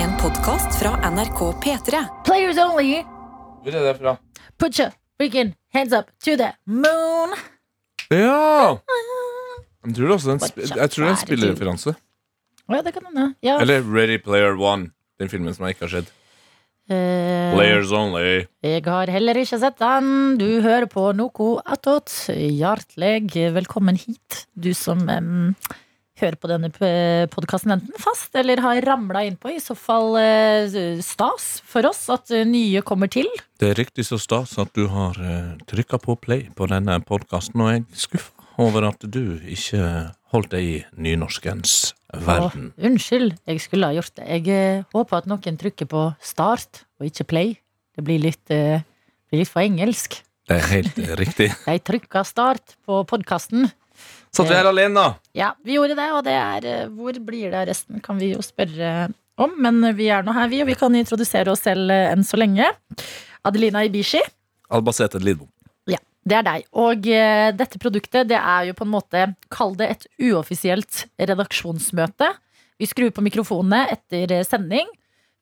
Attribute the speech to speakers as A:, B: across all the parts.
A: En podkast fra NRK P3.
B: Players only.
C: Hvor er det fra?
B: Put your freaking hands up to the moon.
C: Ja! Jeg tror også den,
B: What's
C: sp-
B: up,
C: jeg tror det er en
B: attitude?
C: spillereferanse.
B: Å ja, det kan hende. Ja.
C: Eller Ready Player One. Den filmen som jeg ikke har sett.
B: Eh,
C: Players Only.
B: jeg har heller ikke sett den. Du hører på Noko attåt. Hjertelig velkommen hit, du som em, hører på denne podkasten enten fast eller har ramla innpå. I så fall eh, stas for oss at eh, nye kommer til.
C: Det er riktig så stas at du har uh, trykka på play på denne podkasten, og jeg er skuffa over at du ikke holdt deg i nynorskens verden.
B: Å, unnskyld, jeg skulle ha gjort det. Jeg eh, håper at noen trykker på start og ikke play. Det blir litt, eh, blir litt for engelsk.
C: Det er helt eh, riktig.
B: De trykka start på podkasten.
C: Satt vi her alene, da?
B: Ja, vi gjorde det, og det er eh, Hvor blir det av resten, kan vi jo spørre om. Men vi er nå her, vi, og vi kan introdusere oss selv eh, enn så lenge. Adelina Ibishi,
C: Albacete Lidbom.
B: det er deg. Og eh, dette produktet, det er jo på en måte Kall det et uoffisielt redaksjonsmøte. Vi skrur på mikrofonene etter eh, sending.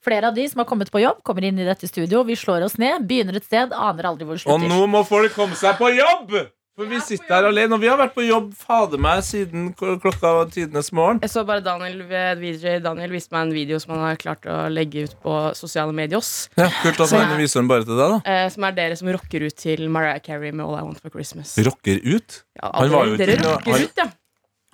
B: Flere av de som har kommet på jobb, kommer inn i dette studio. Vi slår oss ned, begynner et sted, aner aldri hvor det
C: Og
B: slutter.
C: nå må folk komme seg på jobb! For vi sitter her alene, og vi har vært på jobb fader meg siden kl- klokka var tidenes morgen.
D: Jeg så bare Daniel, VJ Daniel viste meg en video som han har klart å legge ut på sosiale medier.
C: Ja, Kult at han viser den bare til deg, da.
D: Eh, som er dere som rocker ut til Mariah Carey med All I Want for Christmas.
C: Rocker ut.
D: Ja,
C: Han var jo
D: dere
C: ikke
D: dere
C: noe- han-
D: rocker ut, ja.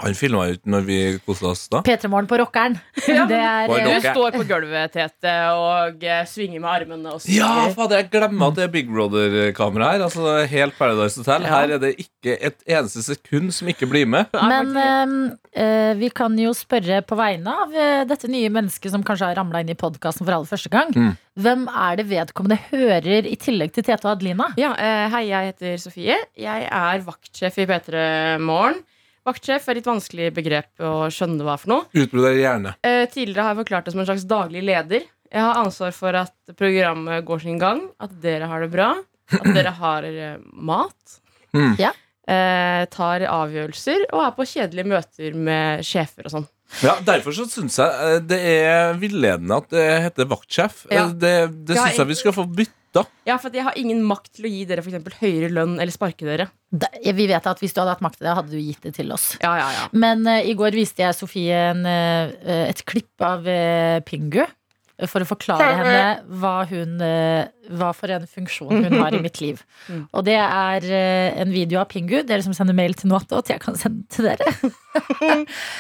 C: Han filma ut når vi kosa oss da.
B: P3morgen på rockeren.
D: Ja,
B: Det er
C: Var det
B: eh,
D: Du
C: rocker.
D: står på gulvet, Tete, og eh, svinger med armene og
C: Ja,
D: synger.
C: fader, jeg glemmer at det er Big Brother-kamera her. Altså helt Paradise Hotel. Her er det ikke et eneste sekund som ikke blir med.
D: Det er
B: Men
D: faktisk-
B: eh, eh, vi kan jo spørre på vegne av eh, dette nye mennesket som kanskje har ramla inn i podkasten for aller første gang.
C: Mm.
B: Hvem er det vedkommende hører i tillegg til Tete og Adelina?
D: Ja, eh, Hei, jeg heter Sofie. Jeg er vaktsjef i P3 Morgen. Vaktsjef er litt vanskelig begrep å skjønne hva er for noe.
C: Utbrudd av hjerne.
D: Eh, tidligere har jeg forklart det som en slags daglig leder. Jeg har ansvar for at programmet går sin gang, at dere har det bra, at dere har eh, mat.
C: Mm.
B: Ja.
D: Eh, tar avgjørelser og er på kjedelige møter med sjefer og sånn.
C: Ja, derfor så syns jeg eh, det er villedende at det heter vaktsjef.
D: Ja.
C: Eh, Det, det
D: Ja,
C: syns jeg vi skal få bytta.
D: Ja, for at jeg har ingen makt til å gi dere for eksempel høyere lønn eller sparke dere.
B: Da, vi vet at Hvis du hadde hatt makt til det, hadde du gitt det til oss.
D: Ja, ja, ja.
B: Men eh, i går viste jeg Sofie en, eh, et klipp av eh, Pingu. eh, For å forklare henne hva, hun, eh, hva for en funksjon hun har i mitt liv.
D: Mm.
B: Og det er eh, en video av Pingu. Dere som sender mail til Noatot, jeg kan sende til dere.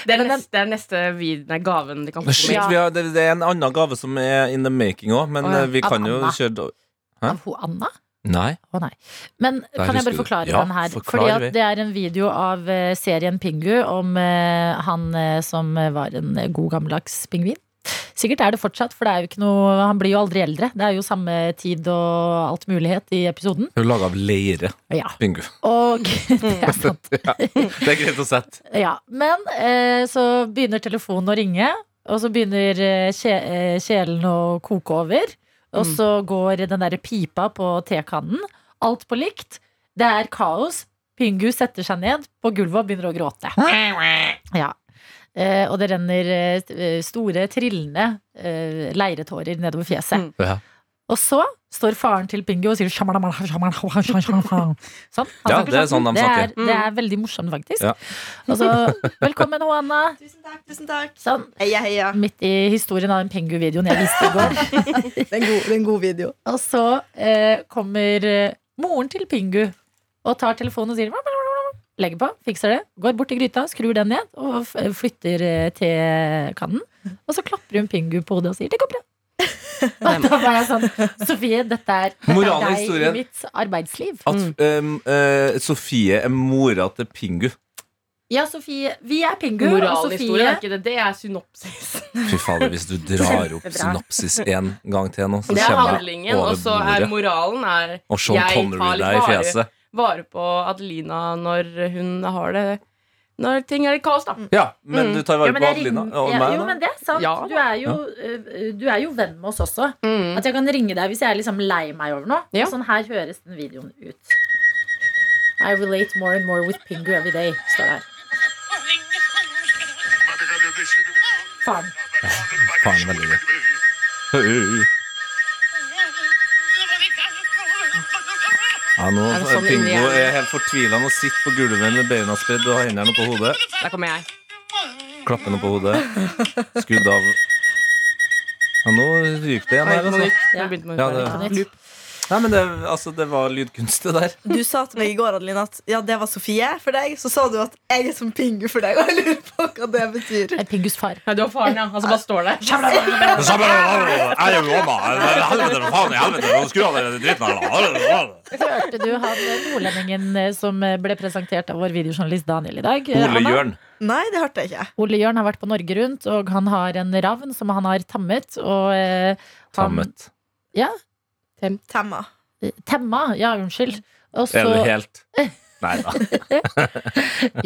D: Det er
B: Men den-
D: neste, det er neste vid, nei, gaven de kan få.
C: Shit,
D: med.
C: vi har, det, det er en annen gave som er in the making òg, men
D: Å, ja.
C: eh, vi
B: Av
C: kan jo
B: Anna.
C: kjøre Hæ?
B: Av ho Anna.
C: Nei.
B: Å nei. Men kan jeg
C: husker
B: bare
C: du.
B: forklare
C: Ja,
B: den her?
C: forklar
B: Fordi
C: vi.
B: at det er en video av eh, serien Pingu om eh, han eh, som var en eh, god gammeldags pingvin. Sikkert er det fortsatt, for det er jo ikke noe, han blir jo aldri eldre. Det er jo samme tid og alt mulighet i episoden.
C: Det er jo laga av leire.
B: Ja,
C: Bingo.
B: og det er sant.
C: Det er greit å sette.
B: Ja, men eh, så begynner telefonen å ringe, og så begynner eh, kje, eh, kjelen å koke over. Og
D: Mm.
B: så går den derre pipa på tekannen. Alt på likt. Det er kaos. Pingu setter seg ned på gulvet og begynner å gråte. Ja. Eh, og det renner eh, st- eh, store, trillende eh, leiretårer nedover fjeset.
D: Mm.
C: Ja.
B: Og så står faren til Pingu og sier «Shamalamal, shamalamal, shamalamal». Sånn. han
C: Ja,
B: snakker
C: det er
B: sånn.
C: sånn de
B: det er,
C: snakker.
B: det er veldig morsomt, faktisk.
C: Ja.
B: Og så, velkommen, Anna.
E: Tusen takk. tusen takk
B: Sånn,
E: Heia, heia.
B: midt i historien av den Pengu-videoen jeg viste i går.
E: Det er en god, det er en god video.
B: Og så eh, kommer eh, moren til Pingu og tar telefonen og sier «Mam, mam, mam, mam». Legger på, fikser det, går bort til gryta, skrur den ned og f- flytter eh, tekannen. Og så klapper hun Pingu på hodet og sier 'det går bra'. Og da var jeg sånn Sofie, dette er, dette er
C: Moralen i
B: deg
C: historien.
B: i mitt arbeidsliv.
C: At
D: Mm.
C: em, eh, Sofie er mora til Pingu.
B: Ja, Sofie, vi er Pingu, og
D: Moralhistorien
B: Sofie
D: er ikke det. Det er synopsis.
C: Fy fader, hvis du drar opp synopsis en gang til nå, så
D: Det er
C: kommer jeg
D: handlingen, og
C: over
D: så er
C: bordet.
D: moralen er
C: Og sånn
D: jeg
C: kommer
D: tar
C: du deg i
D: vare-
C: fjeset.
D: vare på Adelina når hun har det Når ting er i kaos, da.
C: Ja, men
D: Mm.
C: du tar
B: Ja,
C: vare
B: men
C: på
B: jeg
C: Adelina.
B: ringer-
C: Og
B: ja, Mm.
C: meg,
B: jo, men
C: da.
B: det er sant.
D: Ja.
B: Du, er jo, eh, du er jo venn med oss også. At jeg kan ringe deg hvis jeg er liksom lei meg over noe.
D: Ja.
B: Og Sånn her høres den videoen ut. I relate more and more with Pingu every day, står det her. Faren.
C: Faren, veldig gøy. Ja, nå
D: Er det sånn inni
C: Pingo
D: hjernen?
C: er helt fortvila og sitter på gulvet med beina spredd og hendene på hodet.
D: Der kommer jeg.
C: Klappende på hodet. Skudd av. Ja, nå ryker det igjen
D: Oi,
C: her,
D: noe
C: altså.
D: nytt. Nå begynte man å
C: Ja,
D: høre.
C: det-
B: På nytt.
C: Nei, men det, altså, det var lydkunst, det der.
E: Du sa til meg i går Adeline, at ja, det var Sofie for deg. Så sa du at jeg er som Pingu for deg. Og jeg lurer på hva det betyr.
B: Eh, Pingus far.
D: Nei, du var faren, ja. Han som bare står der.
B: Hørte du han eh, nordlendingen eh, som eh, ble presentert av vår videojournalist Daniel i dag? Eh,
C: Ole
B: Anna?
C: Jørn.
E: Nei, det hørte jeg ikke.
B: Ole Jørn har vært på Norge Rundt, og han har en ravn som han har tammet. Og eh, han-
C: Tammet.
E: Temma.
B: Temma, ja, unnskyld. Og så-
C: Eller helt. Nei da.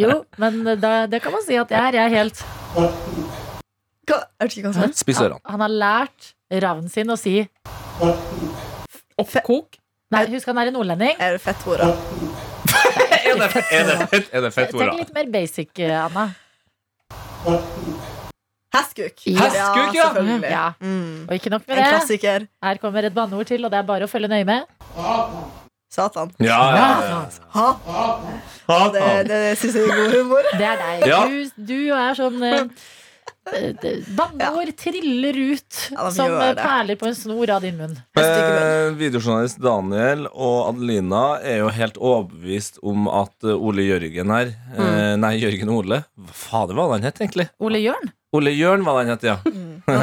B: jo, men da, det kan man si at jeg er. Jeg er helt
E: Hva? Jeg hørte ikke hva som
C: Spiss
B: han,
C: ørene.
B: han har lært ravnen sin å si
D: Oppkok.
B: Nei, husk han er en nordlending.
E: er det fetthora.
C: Er det fett, er det fett, er det fett
B: Tenk
C: Tora?
B: litt mer basic, eh, Anna.
E: Hestkuk.
C: Hestkuk, ja.
E: selvfølgelig.
B: Ja.
E: Mm.
B: Og ikke nok med
E: En
B: det.
E: klassiker.
B: Her kommer et banneord til, og det er bare å følge nøye med.
E: Satan.
C: Ja, ja,
E: Ha.
C: ja.
E: Det, det syns jeg er god humor.
B: Det er deg.
C: Ja.
B: Du, du er sånn eh, eh, Banneord triller ut
E: Ja, de
B: som
E: gjør
B: eh,
E: det.
B: perler på en snor av din munn.
E: Hestekubben.
C: Eh, videojournalist Daniel og Adelina er jo helt overbevist om at eh, Ole Jørgen her eh, Nei, Jørgen Ole. Hva fader var det han het, egentlig?
B: Ole Jørn?
C: Ole Jørn var det han het, ja.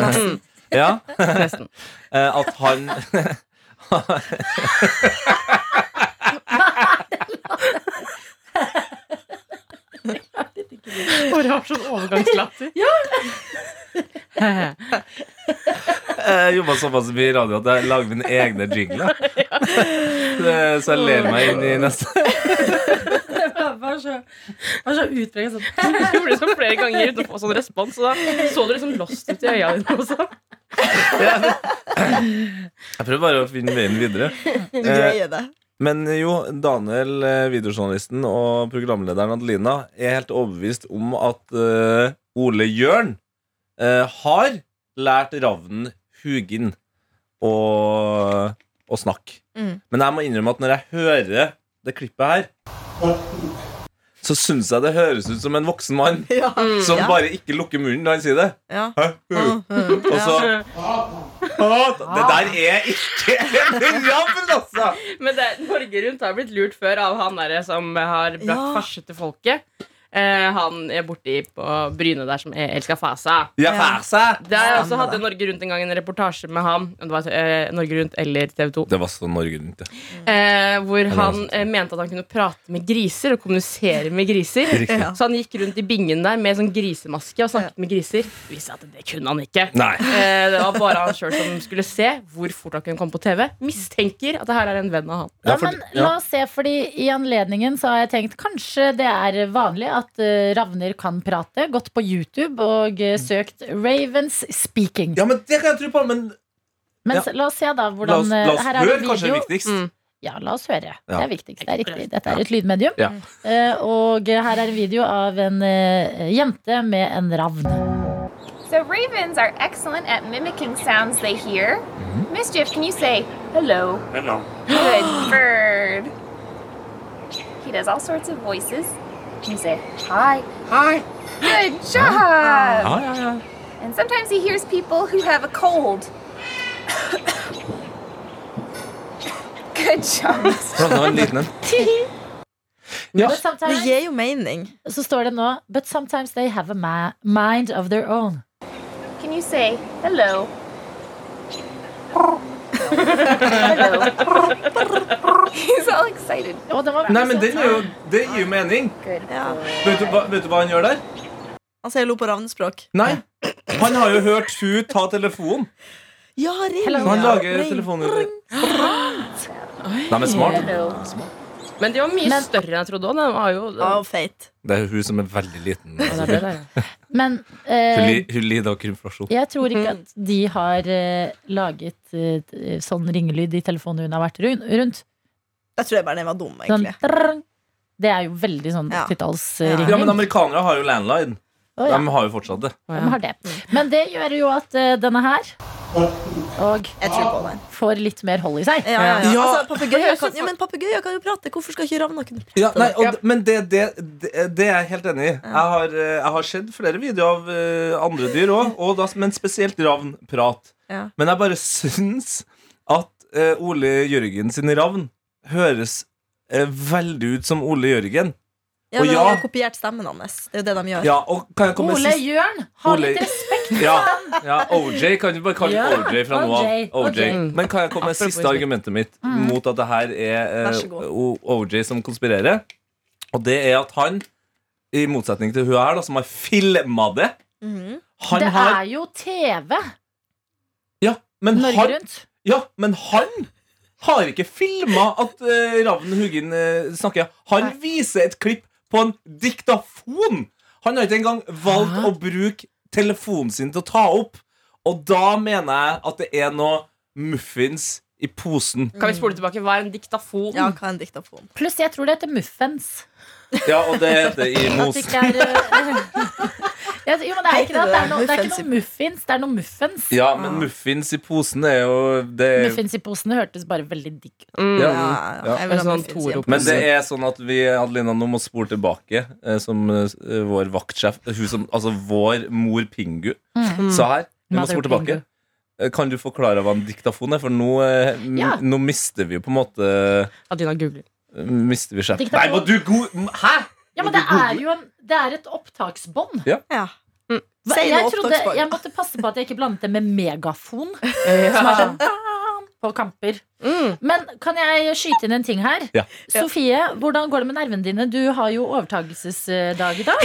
C: ja.
D: Nesten.
C: Eh, at han
D: Bare har sånn overgangslatter. ja.
C: eh, jobba såpass mye i radio at jeg lager mine egne jingler. Det- Så jeg ler meg inn i neste
B: Det var så, utpreget sånn.
D: Jeg gjorde det sånn flere ganger uten å få sånn respons. Så da så du liksom lost ut i øya dine også.
C: Jeg prøver bare å finne veien videre.
E: Du
C: Eh.
E: greier det.
C: Men jo, Daniel, eh, videojournalisten og programlederen Adelina er helt overbevist om at eh, Ole Jørn eh, har lært ravnen Hugin å, å snakke.
E: Mm.
C: Men jeg må innrømme at når jeg hører det klippet her, så syns jeg det høres ut som en voksen mann
E: Ja.
C: som
E: Ja. Mm,
C: bare ikke lukker munnen når han sier det.
E: ja.
C: Hæ? Hu. Og så Det der er ikke en ravn, altså!
D: Men det, Norge Rundt har blitt lurt før av han der som har brakt
E: Ja.
D: farse til folket. Eh, han er borti på Bryne der som er elsker fasa.
C: Ja,
E: Ja.
C: fæsa.
D: Der også
E: Stemmer
D: hadde
E: det.
D: Norge Rundt en gang en reportasje med ham. om Det var eh, Norge Rundt eller TV
E: Mm.
D: 2.
C: Det var sånn Norge Rundt, ja.
D: Eh, hvor
C: var
D: han
C: sånn.
D: eh, mente at han kunne prate med griser og kommunisere med griser.
C: Riktig.
E: Ja.
D: Så han gikk rundt i bingen der med sånn grisemaske og snakket med griser. Viste at det kunne han ikke.
C: Nei.
D: Eh, det var bare han sjøl som skulle se hvor fort han kunne komme på TV. Mistenker at det her er en venn av han.
B: Ja,
C: Ja, for-
B: men la oss se, fordi i anledningen så har jeg tenkt kanskje det er vanlig at eh, ravner kan prate. Gått på YouTube og eh, søkt Ravens speaking.
C: Ja, men det kan jeg tro på, men
B: Men
C: ja.
B: s- la oss se da
C: la
B: hvordan
C: oss,
B: eh,
C: la oss
B: her er
C: høre,
B: det
C: kanskje det
B: video.
C: er viktigst.
D: Mm.
B: Ja, la oss høre. Det
C: Ja.
B: er viktigst. Det er riktig. Dette er et lydmedium.
C: Ja.
B: Eh, og her er en video av en eh, jente med en ravn.
F: So ravens are excellent at mimicking sounds they hear. Mischief, can you say hello?
G: Hello.
F: Good bird. He does all sorts of voices. Can you say hi? Hi. Good job.
C: Ja, ja, ja.
F: And sometimes he hears people who have a cold. Good job.
C: Hvordan var en liten en? Ja.
B: But
E: Det
B: sometimes,
E: gir jo mening.
B: så står det nå But sometimes they have a ma mind of their own.
F: Can you say hello? hello. He's all excited.
B: Og den var
C: Nei, men den er jo, det gir jo mening.
F: Good
E: Ja.
C: Vet du, hva, vet du hva han gjør der?
E: Han sier lo på ravnespråk.
C: Nei. Han har jo hørt hun ta telefonen.
E: Ja, ring!
C: Så han
E: ja.
C: lager
E: Ring.
C: telefonlyd. Nei, men smart.
F: hello.
D: Men de var mye
B: Men-
D: større enn jeg trodde. også. Den var jo,
E: Av feit.
C: Det er hun som er veldig liten.
D: Ja, det er det der, ja.
B: Men
C: Hun,
B: eh,
C: li, hun lider av krymflasjon.
B: jeg tror ikke at de har eh, laget eh, t- sånn ringelyd i telefonen hun har vært run rundt.
E: Jeg tror jeg bare den var dum,
B: Sånn,
E: egentlig.
B: trrrrrrrrrrrrrrrrrrrrrrrrrrrrrrrrrrrrrrrrring. det er jo veldig sånn
E: Ja.
B: 80-tallsringing.
C: Ja, men amerikanere har jo landline.
B: Å, ja.
C: De har jo fortsatt det.
B: de har det. Men det gjør jo at eh, denne her Og
E: Jeg tror på den.
B: får litt mer hold i seg.
E: Ja, ja, ja.
C: Ja.
E: Altså, papegøyer kan, ja, men papegøyer kan jo prate. Hvorfor skal ikke ravner kunne prate?
C: Ja, nei, og, d- Men det, det, det, det er jeg helt enig i. Jeg har, eh, jeg har sett flere videoer av eh, andre dyr òg, og da- men spesielt ravnprat.
E: Ja.
C: Men jeg bare syns at eh, Ole Jørgen sin ravn høres eh, veldig ut som Ole Jørgen.
E: Ja,
C: Og
E: men
C: ja.
E: De har kopiert stemmen hans. Det er jo det de gjør.
C: Ja, og kan jeg komme med
B: Ole
C: sist?
B: Jørn, ha
C: Ole-
B: litt respekt!
C: Ja, ja, OJ kan du bare kalle
B: Ja,
C: OJ fra nå av.
B: OJ,
C: OJ.
B: OJ.
C: Men kan jeg komme med siste
D: Apropos-
C: argumentet mitt
B: Mm.
C: mot at det her er
E: Vær
C: eh,
E: så god.
C: O- OJ som konspirerer? Og det er at han, i motsetning til hun her, da, som har filma det
E: Mhm.
C: Han
B: Det
C: har
B: er jo TV
C: Ja, men
B: Norge
C: han,
B: Rundt.
C: ja, men han har ikke filma at eh, Ravnen Hugin eh, snakker. Han viser et klipp på en diktafon! Han har ikke engang valgt å bruke telefonen sin til å ta opp. Og da mener jeg at det er noe muffins i posen.
D: Kan vi spole tilbake? Hva er en diktafon?
E: Ja, hva er en diktafon?
B: Pluss jeg tror det heter Muffens.
C: Ja, og det heter i
B: At det ikke er eh, ja, Jo, men det er ikke det. Det er, noe, det er ikke noe muffins. Det er noe muffens.
C: Ja, men muffins i posen er jo det er,
B: Muffins i posene hørtes bare veldig digg ut.
D: Mm.
C: Ja.
E: Ja, ja. Jeg vil
D: En
E: ha
D: sånn
E: muffins igjen.
D: torop.
C: Men det er sånn at vi Adelina, nå må spole tilbake, eh, som eh, vår vaktsjef hun som, Altså vår mor Pingu sa her. Vi må
B: Mm. Mother
C: spole tilbake.
B: Pingu.
C: Eh, Kan du forklare hva en diktafon er? For nå, eh, m-
B: Ja.
C: nå mister vi jo på en måte eh,
D: Adina googler.
C: Mister vi sjef.
B: Diktafon.
C: Nei, må du go Hæ?!
B: Ja, men
C: Må
B: det
C: du
B: er
C: google?
B: jo en, det er et opptaksbånd.
E: Ja.
D: Mm.
E: Si noe
B: Jeg, trodde,
E: opptaksbart.
B: jeg måtte passe på at jeg ikke blandet det med megafon. Som er
D: Ja.
B: sånn "Ah", på kamper.
D: Mm.
B: Men kan jeg skyte inn en ting her?
C: Ja.
B: Sofie, hvordan går det med nervene dine? Du har jo overtagelsesdag i dag.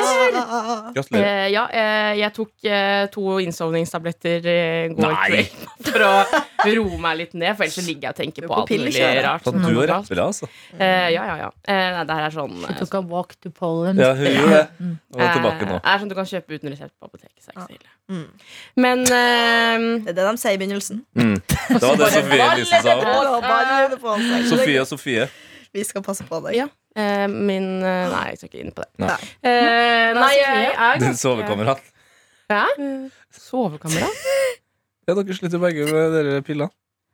C: Gratulerer.
D: Eh, ja, eh, jeg tok eh, to innsovningstabletter i går
C: Nei!
D: kveld for å roe meg litt ned, for ellers så ligger jeg og tenker på
E: på
D: alt mulig
E: pillekjøret.
D: rart.
C: Sånn,
D: som
C: du
D: er
C: og
D: galt.
C: rappere, altså.
D: Eh, ja, ja, ja. Eh, nei, det her er sånn eh,
B: Tok a walk to Poland.
C: Ja, hun gjorde det.
B: Mm.
C: Og er tilbake nå.
D: eh, er sånn du kan kjøpe uten resept på apoteket. Så er det ikke så ille.
E: Mm.
D: Men eh,
E: Det er det de sier i begynnelsen.
B: Eh.
C: Mm. Det var det Sofie Elise sa.
D: Ja.
E: Bare- bare gjør det på seg.
C: Sofie og Sofie.
E: Vi skal passe på deg.
D: Ja. eh, min eh, Nei, jeg skal ikke inn på det.
C: Nei.
D: Eh, nei, jeg er
C: Din
D: ganske
C: sovekamerat.
D: Ja? Sovekamera?
C: Ja, dere sliter begge med dere pillene.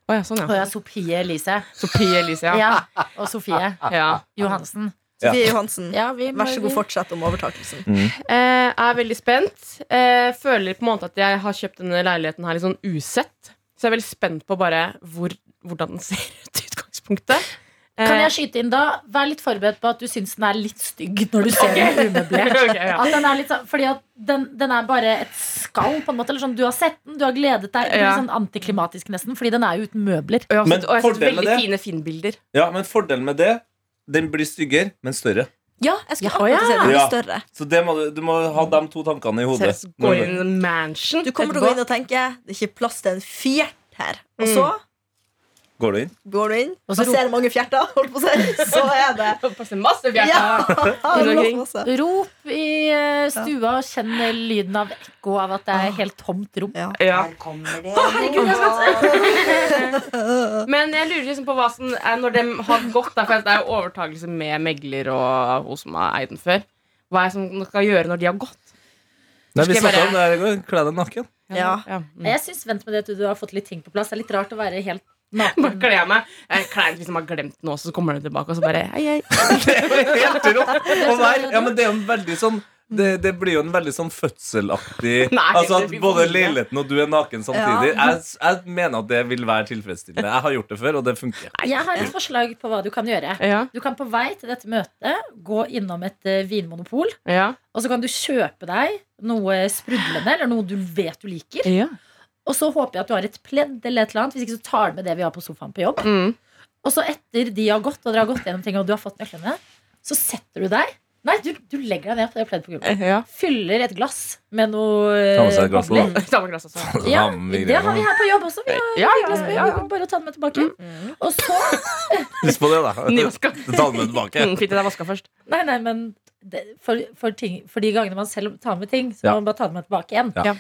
D: Å ja, sånn,
B: Og
D: ja.
B: ja, Sofie Elise.
D: Sofie Elise, ja.
B: Ja. Og Sofie
D: ja.
B: Johansen.
E: Sofie Johansen,
B: Ja, vi må-
E: vær så god, fortsett om overtakelsen.
D: Eh, er veldig spent. Eh, føler på en måte at jeg har kjøpt denne leiligheten her litt sånn usett. Så jeg er veldig spent på bare hvor, hvordan den ser ut i utgangspunktet. Eh,
B: Kan jeg skyte inn da? Vær litt forberedt på at du syns den er litt stygg når du ser den umøblert.
D: Eh, Ok, ja.
B: At den er litt sånn, fordi at den, den er bare et skall, på en måte. Eller sånn, du har sett den, du har gledet deg. Det blir
D: Ja.
B: Sånn antiklimatisk nesten, fordi den er jo uten møbler.
D: Og jeg har
C: Men
D: sett, og jeg har sett
C: fordelen
D: veldig
C: med det-
D: fine Finn-bilder.
C: Ja, men fordelen med det Den blir styggere, men større.
E: Ja, jeg skulle
B: Ja, ja.
E: akkurat si det. det.
C: Ja.
E: er Større.
C: Så det må du, du må ha de to tankene i hodet.
D: Så jeg går inn i en mansion.
E: Du kommer til å gå inn og tenke det er ikke plass til en fjert her. Og
D: Mm.
E: så
C: Går du inn?
E: går du inn
B: Og
E: og
B: så
E: ser mange fjerter, holdt på å si. Så er det
D: Passer masse
E: Ja!
D: fjerter.
E: det er plass masse.
B: Rop i eh, stua, kjenn lyden av ekko av at det
D: Ah.
B: er helt tomt rom.
E: Ja.
D: Ja.
G: kommer det
D: Men jeg lurer liksom på hva som er når de har gått der, for det er jo overtakelse med megler og hun som har eid den før. Hva er det som skal gjøre når de har gått?
C: Nei, vi
D: Skal jeg bare-
C: snakket om det her i går. Kle deg naken.
E: Ja.
D: Mm.
B: Jeg syns vent med det til du har fått litt ting på plass. Det er litt rart å være helt
D: Bare
B: naken.
D: kler jeg meg. Jeg er kleint hvis de har glemt noe, så kommer de tilbake og så bare hei, hei.
C: Det er jo helt rått. Og der, ja, men det er jo en veldig sånn det, det blir jo en veldig sånn fødselaktig
D: Nei,
C: Altså
D: det
C: at
D: blir for
C: både
D: mye.
C: leiligheten og du er naken samtidig. Jeg, jeg mener at det vil være tilfredsstillende. Jeg har gjort det før, og det funker.
B: Jeg har et forslag på hva du kan gjøre.
D: Ja,
B: Du kan på vei til dette møtet gå innom et eh, vinmonopol,
D: ja,
B: og så kan du kjøpe deg noe sprudlende eller noe du vet du liker.
D: ja.
B: Og så håper jeg at du har et pledd eller et eller annet. Hvis ikke så tar du med det vi har på sofaen på jobb.
D: Mm.
B: Og så etter de har gått, og dere har gått gjennom ting, og du har fått nøklene, så setter du deg Nei, du, du legger deg ned på det pleddet på gulvet.
D: ja.
B: Fyller et glass med noe
C: Ta med
B: eh,
C: seg et glass
B: bobler.
D: Samme glass også.
B: Ja,
C: Sånn, vi
B: det har vi
C: greier.
B: her på jobb også. Vi har
D: Ja, ja,
B: glass på
D: ja,
B: jobb.
D: ja.
B: Bare ta den med tilbake.
C: Mm.
B: Og så
C: Husk på det, da.
D: Nyvaska.
C: Ta den med tilbake.
D: Mm, Fint at jeg vaska først.
B: Nei, nei, men det, for, for, ting, for de gangene man selv tar med ting, så
C: Ja.
B: må man bare ta dem med tilbake igjen.
C: Ja.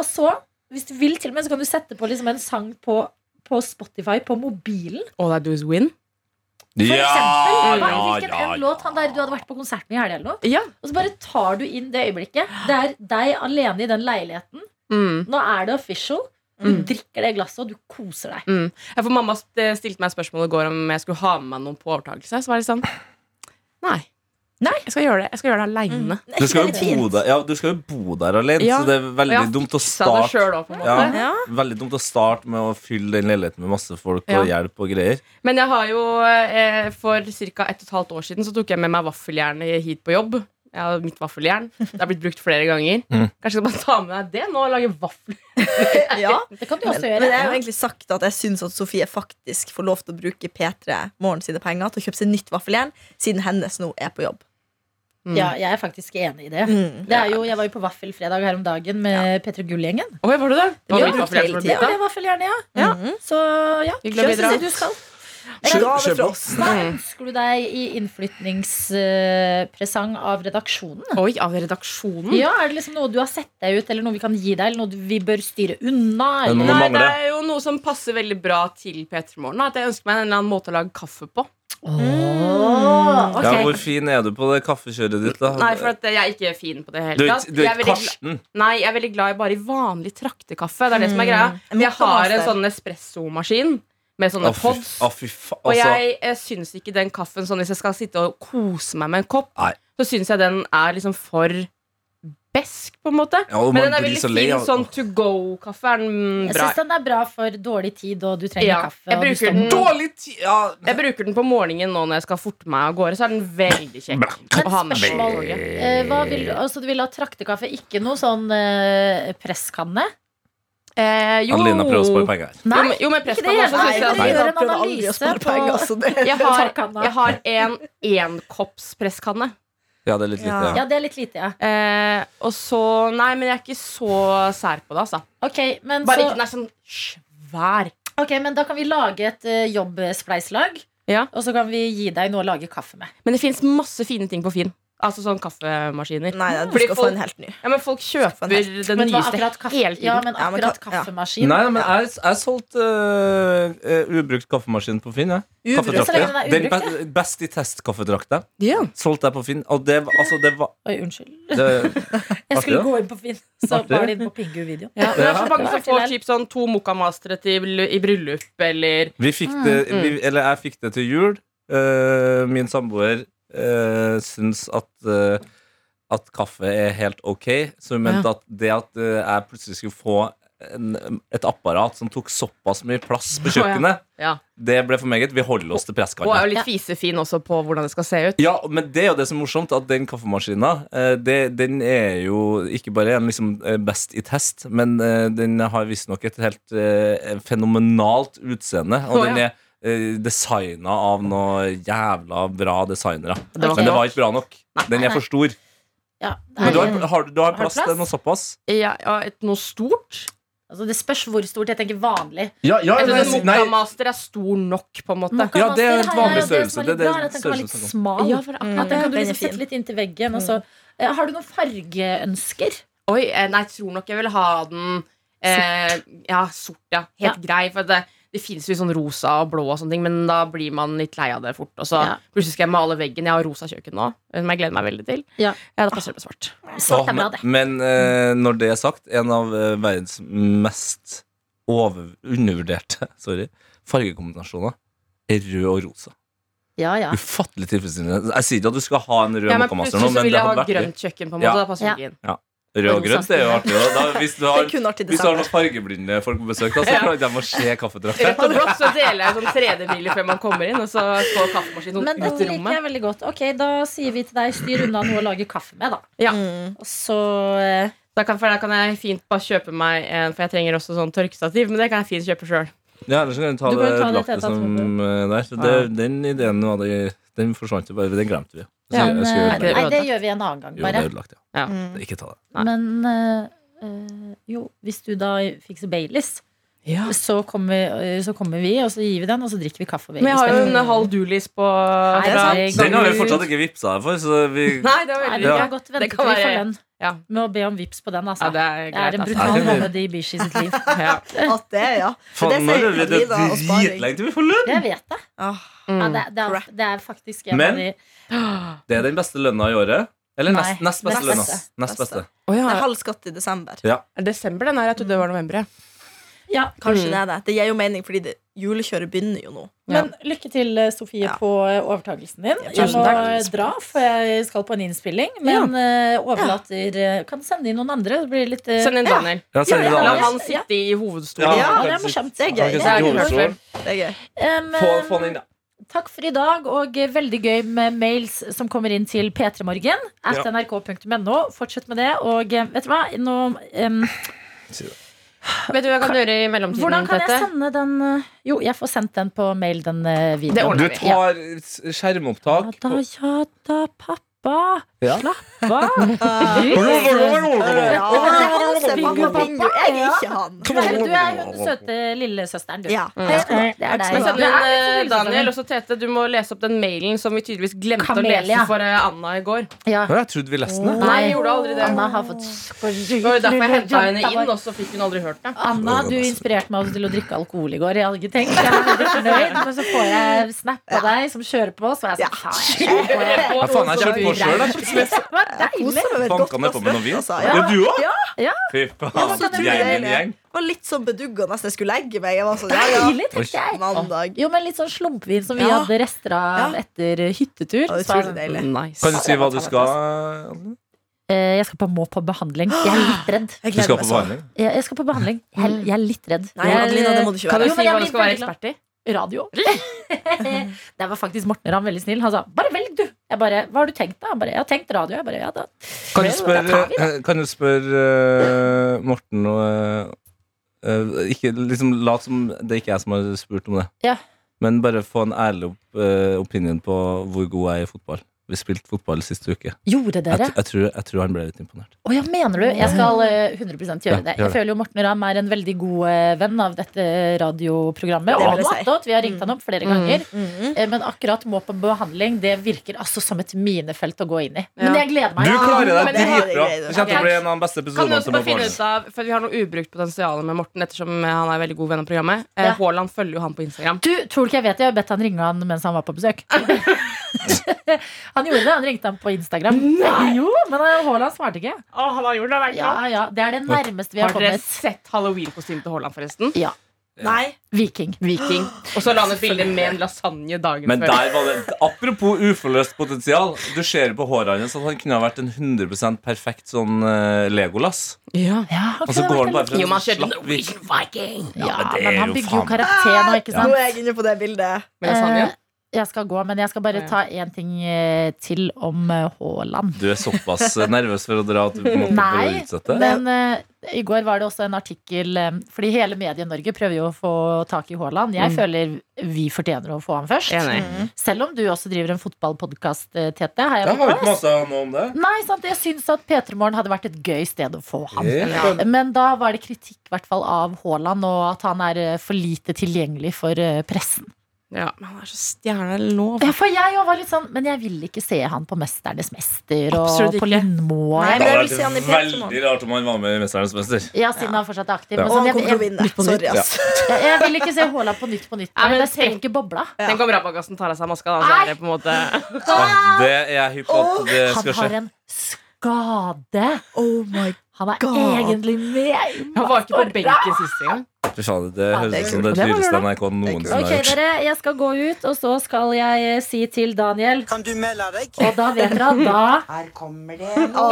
B: Og så, hvis du vil til og med, så kan du sette på liksom en sang på, på Spotify på mobilen.
D: All I do is win.
B: For eksempel, hva- hvilken
C: ja,
B: enn låt han der du hadde vært på konsert med i helga eller noe.
D: Ja.
B: Og så bare tar du inn det øyeblikket. Det er deg alene i den leiligheten.
D: Mm.
B: Nå er det official. Du
D: Mm.
B: drikker det glasset, og du koser deg.
D: Ja, for mamma st- stilte meg spørsmål i går om jeg skulle ha med meg noen på overtakelse. Så var jeg litt sånn Nei. Mm.
B: Nei.
D: Jeg skal gjøre det Jeg skal gjøre det aleine.
C: Du skal jo bo der, ja, du skal jo bo der alene,
D: Ja.
C: så det er veldig dumt å
D: det
C: starte
D: sjøl òg, på en måte.
C: ja,
E: Ja.
C: Veldig dumt å starte med å fylle den leiligheten med masse folk og
D: Ja.
C: hjelp og greier.
D: Men jeg har jo eh, for ca. et og et halvt år siden Så tok jeg med meg vaffeljernet hit på jobb. Jeg har mitt vaffeljern. Det har blitt brukt flere ganger.
C: Mm.
D: Kanskje jeg skal bare ta med deg det nå og lage vafler.
E: Ja.
B: Det kan du
E: Men,
B: også gjøre.
E: men jeg har jo egentlig sagt at jeg syns at Sofie faktisk får lov til å bruke P3 Morgen sine penger til å kjøpe seg nytt vaffeljern, siden hennes nå er på jobb.
D: Mm.
B: Ja, jeg er faktisk enig i det.
E: Mm.
B: det er jo, jeg var jo på vaffelfredag her om dagen med Petter Gull-gjengen.
D: Oi, var du det? Det
E: blir
D: var mitt
E: brukt
D: vaffeljern
E: hele
D: som ble
E: tida.
D: brukt,
B: Det var vaffeljernet, ja. Mm.
E: Mhm.
B: Så ja,
D: Hyggelig å
B: kjøp
D: bidra.
B: det du skal.
E: En gave
C: kjøp
E: fra
C: opp.
E: oss.
B: Hva ønsker du deg i innflytningspresang av redaksjonen?
D: da. Oi, av redaksjonen?
B: Ja, Er det liksom noe du har sett deg ut, eller noe vi kan gi deg, eller noe du- vi bør styre unna?
C: Men
B: Eller?
D: Nei,
C: nå
D: det
C: mangler det.
D: er jo noe som passer veldig bra til P3 Morgen. da, At jeg ønsker meg en eller annen måte å lage kaffe på.
B: Mm. Åh, ok.
C: Ja, hvor fin er du på det kaffekjøret ditt, da?
D: Nei, for at jeg er ikke fin på det hele
C: du er
D: tatt.
C: ikke- du er
D: Jeg er
C: ikke
D: veldig gl-
C: Karsten.
D: Nei, jeg er veldig glad i bare i vanlig traktekaffe. Det er det som er greia.
E: En
D: Jeg har en
E: mokkamaster.
D: sånn espressomaskin med sånne
C: Å, fy,
D: pods.
C: å, fy fa...
D: Og
C: Altså,
D: jeg, jeg syns ikke den kaffen sånn Hvis jeg skal sitte og kose meg med en kopp,
C: Nei.
D: så syns jeg den er liksom for besk, på en måte.
C: Ja, og
D: Men
C: man
D: den er
C: blir
D: veldig
C: så lei
D: fin
C: av-
D: sånn to go-kaffe. er den
B: Jeg
D: bra
B: syns den er bra for dårlig tid, og du trenger
D: Ja,
B: kaffe.
D: jeg
B: og du
D: bruker
B: står-
D: den.
C: Dårlig tid! Ja.
D: Jeg bruker den på morgenen nå når jeg skal forte meg av gårde. Så er den veldig kjekk å ha med seg. på toget.
B: Eh, hva vil, altså, du vil ha traktekaffe, ikke noe sånn eh, presskanne?
D: Eh, jo.
C: Adelina prøver å spare penger her.
D: Jo, men- jo, men
B: ikke det
D: presspanne også
B: Nei,
D: syns jeg
B: dere
D: at-
E: Nei,
B: gjør en
E: prøvde aldri å
B: analyse
E: spare
B: på-
E: penger, altså, det-
D: Jeg har,
B: Trakkanne.
D: jeg har en énkopps-presskanne.
C: Ja, det er litt lite. Ja.
B: Ja, det er litt lite, ja.
D: Eh, og så Nei, men jeg er ikke så sær på det, altså.
B: Ok, men,
D: Bare
B: så,
D: ikke den er sånn svær.
B: ok, men da kan vi lage et eh, jobbspleiselag.
D: Ja.
B: Og så kan vi gi deg noe å lage kaffe med.
D: Men det fins masse fine ting på Finn. Altså sånn kaffemaskiner.
E: Nei, du
D: Fordi
E: skal få
D: folk-
E: en helt ny.
D: Ja, men folk kjøper
E: Nei.
D: den
B: Men hva,
D: nyeste
B: akkurat, kaffe,
D: hele tiden.
B: ja, men
E: Ja, men
B: akkurat
E: ka- ja.
B: kaffemaskin
C: Nei, men jeg, jeg solgte øh, øh, ubrukt kaffemaskin på Finn. Jeg.
E: Ubrukt.
B: Så lenge den
C: Kaffedrakter.
B: er
C: Den
B: ubrukt,
C: be best i testkaffedrakta.
D: Ja.
C: Solgte jeg på Finn. Og det, var- altså, det var
B: Oi, unnskyld.
C: det,
B: Jeg skulle
C: Artig, da.
B: gå inn på Finn, så
C: Artig.
B: var det inn på Pingu-videoen.
D: Ja, men det er så mange som
B: Det var
D: får
B: til
D: typ sånn to mokamastere til i bryllup eller
C: Vi fikk det
D: Mm,
C: vi, Eller jeg fikk det til jul. Eh, min samboer uh, syns at eh, at kaffe er helt ok, så hun mente at det at eh, jeg plutselig skulle få en, et apparat som tok såpass mye plass på
D: Å, ja.
C: kjøkkenet,
D: Ja.
C: det ble for meget. Vi holder oss til
D: Og er
C: presskanna.
D: jo litt fisefin også på hvordan det skal se ut.
C: Ja, men det er jo det som er morsomt, at den kaffemaskina eh, det, Den er jo ikke bare en liksom eh, best i test, men eh, den har visstnok et helt eh, fenomenalt utseende. Og
D: Å,
C: den
D: ja.
C: er eh, designa av noen jævla bra designere.
D: Det var
B: Ok.
C: Men det var ikke bra nok. Den er for stor.
B: Ja,
C: Men du
B: det,
C: har,
B: er,
C: har, du har
B: du
C: plass
B: plass?
C: til noe såpass?
D: Ja, ja, et, noe stort.
B: altså, det spørs hvor stort. Jeg tenker vanlig.
C: Ja,
D: Jeg tror en mokamaster er stor nok, på en måte.
B: Kan
C: Ja,
B: man
C: det er
B: si-
C: en vanlig
B: ja, det som
C: størrelse.
B: er
C: Det
B: litt
C: er
B: bra, er at den kan være
C: den
B: litt
C: størrelse
B: smal.
D: Ja, for akkurat
B: At den
D: det.
B: kan du
E: Den er
B: liksom
E: fin.
B: sette litt inntil veggen. Og
D: Mm.
B: så. Eh, Har du noen fargeønsker?
D: Oi, eh, nei, jeg tror nok jeg vil ha den eh, Ja, sort, ja. Helt grei. For det, det fins jo sånn rosa og blå og sånne ting, men da blir man litt lei av det fort. Og så
B: Ja.
D: plutselig skal jeg male veggen. Jeg har rosa kjøkken nå, som jeg gleder meg veldig til.
B: Ja.
D: Ja, da passer det med svart.
B: Svart
C: Åh,
B: er bra, det.
C: men men eh, når det er sagt, en av eh, verdens mest over, undervurderte sorry, fargekombinasjoner er rød og rosa.
B: Ja, ja.
C: Ufattelig tilfredsstillende. Jeg sier ikke at du skal ha en rød
D: Ja, men
C: mokamaster nå,
D: plutselig så
C: men
D: vil
C: det
D: jeg ha
C: hadde vært gøy.
D: grønt kjøkken, på en måte.
C: Ja.
D: Da passer
B: Ja.
D: det ikke inn.
C: Rød og
B: Rosa
C: grønt det er jo
B: stil.
C: artig. Da. Da, hvis, du
E: Det er
C: har,
E: kun artig
C: hvis du har
E: design.
C: noen fargeblinde folk på besøk, da, så klarer de å se kaffedrakten.
D: Rødt og blått, så deler jeg sånn 3D-briller før man kommer inn, og så står kaffemaskinen
B: Men
D: sånn ut
B: dette liker
D: i rommet.
B: jeg veldig godt. Ok, Da sier vi til deg styr unna noe å lage kaffe med, da.
D: Ja.
E: Mm.
B: Og så eh,
D: Da kan, for da kan jeg fint bare kjøpe meg en, for jeg trenger også sånn tørkestativ, men det kan jeg fint kjøpe sjøl.
C: Ja, ellers kan du ta
B: Du
C: det
B: kan ta det
C: lagt
B: til
C: det
B: et
C: som
B: alternativ.
C: eh, der. Så det, den ideen nå, det- den forsvant jo bare. Den glemte vi. Så
D: Ja,
C: jeg
B: men,
C: skal gjøre
B: eh,
C: det.
B: Nei, det gjør vi en annen gang,
C: Jo,
B: bare.
C: det er ødelagt, ja.
D: Ja.
E: Mm.
C: Ikke ta det.
D: Nei.
B: Men eh, eh, jo, hvis du da fikser Baileys,
D: Ja.
B: så kommer, eh, så kommer vi, og så gir vi den, og så drikker vi kaffe og
D: Men jeg har jo
B: Baileys.
D: en halv dulis på
B: det er sånn-
D: fra-
B: sant.
C: Den har vi fortsatt ikke vippsa deg for, så vi
D: Nei, det var
B: Nei,
D: veldig
B: vi
C: Ja.
B: kan godt vente
D: Det
B: til
D: kan
B: vi får
D: være-
B: lønn
D: Ja.
B: med å be om vips på den, altså.
D: Ja, det er
B: Det er
D: greit,
B: en
D: altså.
B: brutal
C: Ja, det er-
B: måned i Bishi sitt liv.
D: Ja.
E: At det, ja. For
C: Faen,
E: det
C: nå
E: sier
C: er det
E: vi da, og sparing.
C: dritlenge til vi får lønn!
B: Jeg vet det.
E: Ah,
B: Ja,
D: Mm.
B: det, det, er, det er faktisk en
C: Men-
B: av de
C: Det er den beste lønna i året. Eller
B: Nei,
C: nest, nest beste
B: nest
C: lønna.
E: beste.
C: Nest beste.
D: Å ja.
E: det er halv skatt i desember.
D: Er det Desember, den her. Jeg trodde det var november. jeg.
B: Ja,
E: Kanskje
D: Mm.
E: det er det. Det gir jo mening, fordi det, julekjøret begynner jo nå.
B: Men lykke til, eh, Sofie,
E: Ja.
B: på eh, overtakelsen din.
E: Ja,
B: Jeg
E: tusen
B: må eh,
E: takk.
B: dra, for jeg skal på en innspilling. Men eh, overlater eh, Kan sende inn noen andre. Det blir litt eh,
D: Send inn
E: Ja.
D: Daniel.
C: Ja,
B: Ja,
C: send det
B: ja,
C: til
D: La
B: ja.
C: Anders.
D: han sitte i hovedstolen.
E: Ja.
B: det må kjempe.
E: Det er
C: Kan
E: gøy.
C: ikke
D: Det er
C: sitte i
D: ikke hørt
C: hovedstolen.
D: før.
E: Det er gøy.
B: Em, eh,
C: Få, få den inn, da.
B: Takk for i dag, og eh, veldig gøy med mails som kommer inn til p3morgen. At
C: Ja.
B: nrk.no. Fortsett med det. Og eh, vet du hva? Nå, em,
D: Vet du hva jeg kan gjøre i mellomtiden?
B: hvordan kan jeg
D: Tete?
B: sende den eh, Jo, jeg får sendt den på mail, den eh, videoen.
C: Du
D: vi.
C: tar s-
B: Ja
C: skjermopptak
B: da, ja da, pappa.
C: Ja.
B: Slapp av. Jesus.
E: Ja, men det er han som er
B: Bingo,
E: pappa Bingo. Jeg er ikke han. Mm.
B: Nei, Du er hun søte lillesøsteren, du.
E: Ja.
B: Det er
D: Men
B: deg.
D: send
B: Du
D: inn
B: er litt
D: eh,
B: som
D: Daniel
B: lillesøsteren.
D: også Tete. Du må lese opp den mailen som vi tydeligvis glemte å
B: Kamelia.
D: lese for eh, Anna i går.
B: Ja.
C: Å, Jeg trodde vi leste den. jeg.
D: Nei, jeg gjorde aldri det.
B: Anna har fått
D: Det var jo derfor jeg henta henne inn, og så fikk hun aldri hørt det.
B: Anna, du inspirerte meg også til å drikke alkohol i går. Jeg hadde ikke tenkt Jeg er veldig fornøyd, men så får jeg snap av deg som kjører på, så er jeg sånn faen, jeg
C: Ja, faen, jeg kjørte på sjøl, da.
B: kjører på. Det var deilig.
E: Koser meg med et godt
C: Banka ned
E: glass
C: på med noe
E: rødt,
C: vin.
E: altså.
C: Ja,
E: Ja.
C: du òg?
B: Ja.
C: Fy
E: Ja,
C: faen.
E: så tror jeg
C: Gjengen,
E: det.
C: gjeng.
E: Var litt sånn bedugga nesten jeg skulle legge meg. Jeg var sånn, ja, ja.
B: Deilig, tenkte jeg.
E: Mandag.
B: Jo, men litt sånn slumpvin som vi
E: Ja.
B: hadde rester av
E: Ja.
B: etter hyttetur.
E: Ja,
B: Så er jeg
E: Utrolig
B: sånn,
E: deilig.
D: Nice.
C: Kan du si hva du skal? Anne?
B: eh, jeg skal på, må på behandling. Jeg er litt redd.
E: Jeg
C: Du skal
E: gleder
C: på
E: meg sånn.
C: behandling?
B: Jeg, jeg skal på behandling. Jeg, jeg er litt redd.
E: Nei,
B: Jeg-
E: Adelina, det må du ikke
D: Kan du
E: være.
B: Jo, men
D: si
B: jeg
D: hva
B: blir
D: du skal være
B: veldig glad.
D: ekspert i?
B: radio. Der var faktisk Morten Ramm veldig snill. Han sa 'bare velg, du'. Jeg bare 'hva har du tenkt', da? Han bare 'jeg har tenkt radio'. Jeg bare, ja, da.
C: Kan du
B: Det
C: spørre
B: tar vi,
C: kan du spørre, eh, Morten og eh, eh, Ikke liksom lat som det ikke er jeg som har spurt om det.
B: Ja.
C: Men bare få en ærlig opp, eh, opinion på hvor god jeg er i fotball. Vi spilte fotball siste uke.
B: Gjorde
C: Jeg,
B: dere?
C: t- jeg, tror, jeg tror han ble litt imponert.
B: Å ja, mener du? Jeg skal eh, 100
C: Ja,
B: gjøre det. Jeg
C: gjør det.
B: føler jo Morten Ramm er en veldig god eh, venn av dette radioprogrammet.
E: Det
B: Og
E: vil jeg si.
B: attåt. Vi har ringt han opp flere ganger.
E: Mhm.
B: Eh, Men akkurat må på behandling, det virker altså som et minefelt å gå inn i. Men
D: Ja.
B: jeg gleder
C: Du
B: meg.
C: klarer
E: Ja, men
C: deg
E: det har
C: dritbra!
E: jeg greid,
C: Det kommer til å bli en av de beste
D: Kan vi
C: episodene
D: også
C: som
D: bare
C: er på
D: finne ut av, for Vi har noe ubrukt potensial med Morten, ettersom eh, han er veldig god venn av programmet. Eh,
B: Ja.
D: Haaland følger jo han på Instagram.
B: Du, tror du ikke jeg vet det? Jeg har bedt han ringe han mens han var på besøk. han gjorde det. Han ringte han på Instagram. Jo, men eh, Haaland svarte ikke.
D: han har gjort det,
B: Ja, ja, Det er det nærmeste vi har
D: Har dere
B: kommet.
D: sett halloween-kostymet til Haaland, forresten?
E: Nei.
B: Viking.
D: Viking. Og så la han et bilde med en lasagne dagen
C: Men
D: før.
C: der var det Apropos uforløst potensial. Du ser på håret hans at han kunne ha vært en 100 perfekt sånn eh, Legolas.
D: Ja.
B: Ja,
C: Og så går han bare fra
D: Jo,
C: en
D: man kjører
C: slapp vi-
D: Norwegian Viking.
B: Ja,
C: men det
B: men
C: er
B: han
C: jo
B: bygger jo
C: faen-
B: karakter nå, ikke
E: Nå
B: sant?
E: er jeg inne på det bildet.
D: Med lasagne.
B: Eh, Jeg skal gå, men jeg skal bare ta én ting eh, til om eh, Haaland.
C: Du er såpass nervøs for å dra at du på en måte
B: Nei,
C: bør utsette?
B: Men eh, i går var det også en artikkel eh, Fordi hele Medie-Norge prøver jo å få tak i Haaland. Jeg føler vi fortjener å få han først.
D: Enig.
B: Selv om du også driver en fotballpodkast, eh, Tete. Har jeg
C: Jeg
B: vært
C: har
B: på
C: ikke
B: det?
C: masa noe om det.
B: Nei, sant? Jeg syns at P3 Morgen hadde vært et gøy sted å få han.
C: Helt
B: Men da var det kritikk i hvert fall av Haaland, og at han er eh, for lite tilgjengelig for eh, pressen.
D: Ja, men han er så stjerne lov.
B: Ja, for jeg også var litt sånn Men jeg vil ikke se han på 'Mesternes mester' og
D: Absolutt
B: på
D: ikke.
B: Lindmo. og-
E: Nei, men
C: Det
E: jeg
C: hadde
E: vil se han i
C: vært
E: Petermann.
C: veldig rart om han var med i Mesternes mester.
B: Ja, siden han fortsatt er aktiv.
C: Ja.
B: Men
E: Og
B: sånn,
E: han
B: jeg,
E: kommer til å
B: jeg,
E: vinne. Sorry, ass.
B: jeg, jeg vil ikke se Haaland på nytt på nytt.
D: Nei,
B: Nei,
D: men
B: det
D: tenk-
B: sprekker bobla.
D: Tenk om Rabagassen tar av seg maska, da. Så er det på en måte
C: Ja, det er jeg hypp på at det
B: Han
C: skal skje.
B: har en skade.
E: Oh my
B: Han er
E: God.
B: egentlig med. i
D: Han var ikke på
B: masse rart.
D: benken siste gang.
C: Fy faen, det høres ut som det
D: Det var
C: dyreste
D: lørdag.
C: NRK
B: Ok,
C: noensinne har gjort.
B: dere, jeg skal gå ut, og så skal jeg eh, si til Daniel
G: Kan du melde deg?
B: Og da vet dere at da
G: Her kommer det.
C: Ja,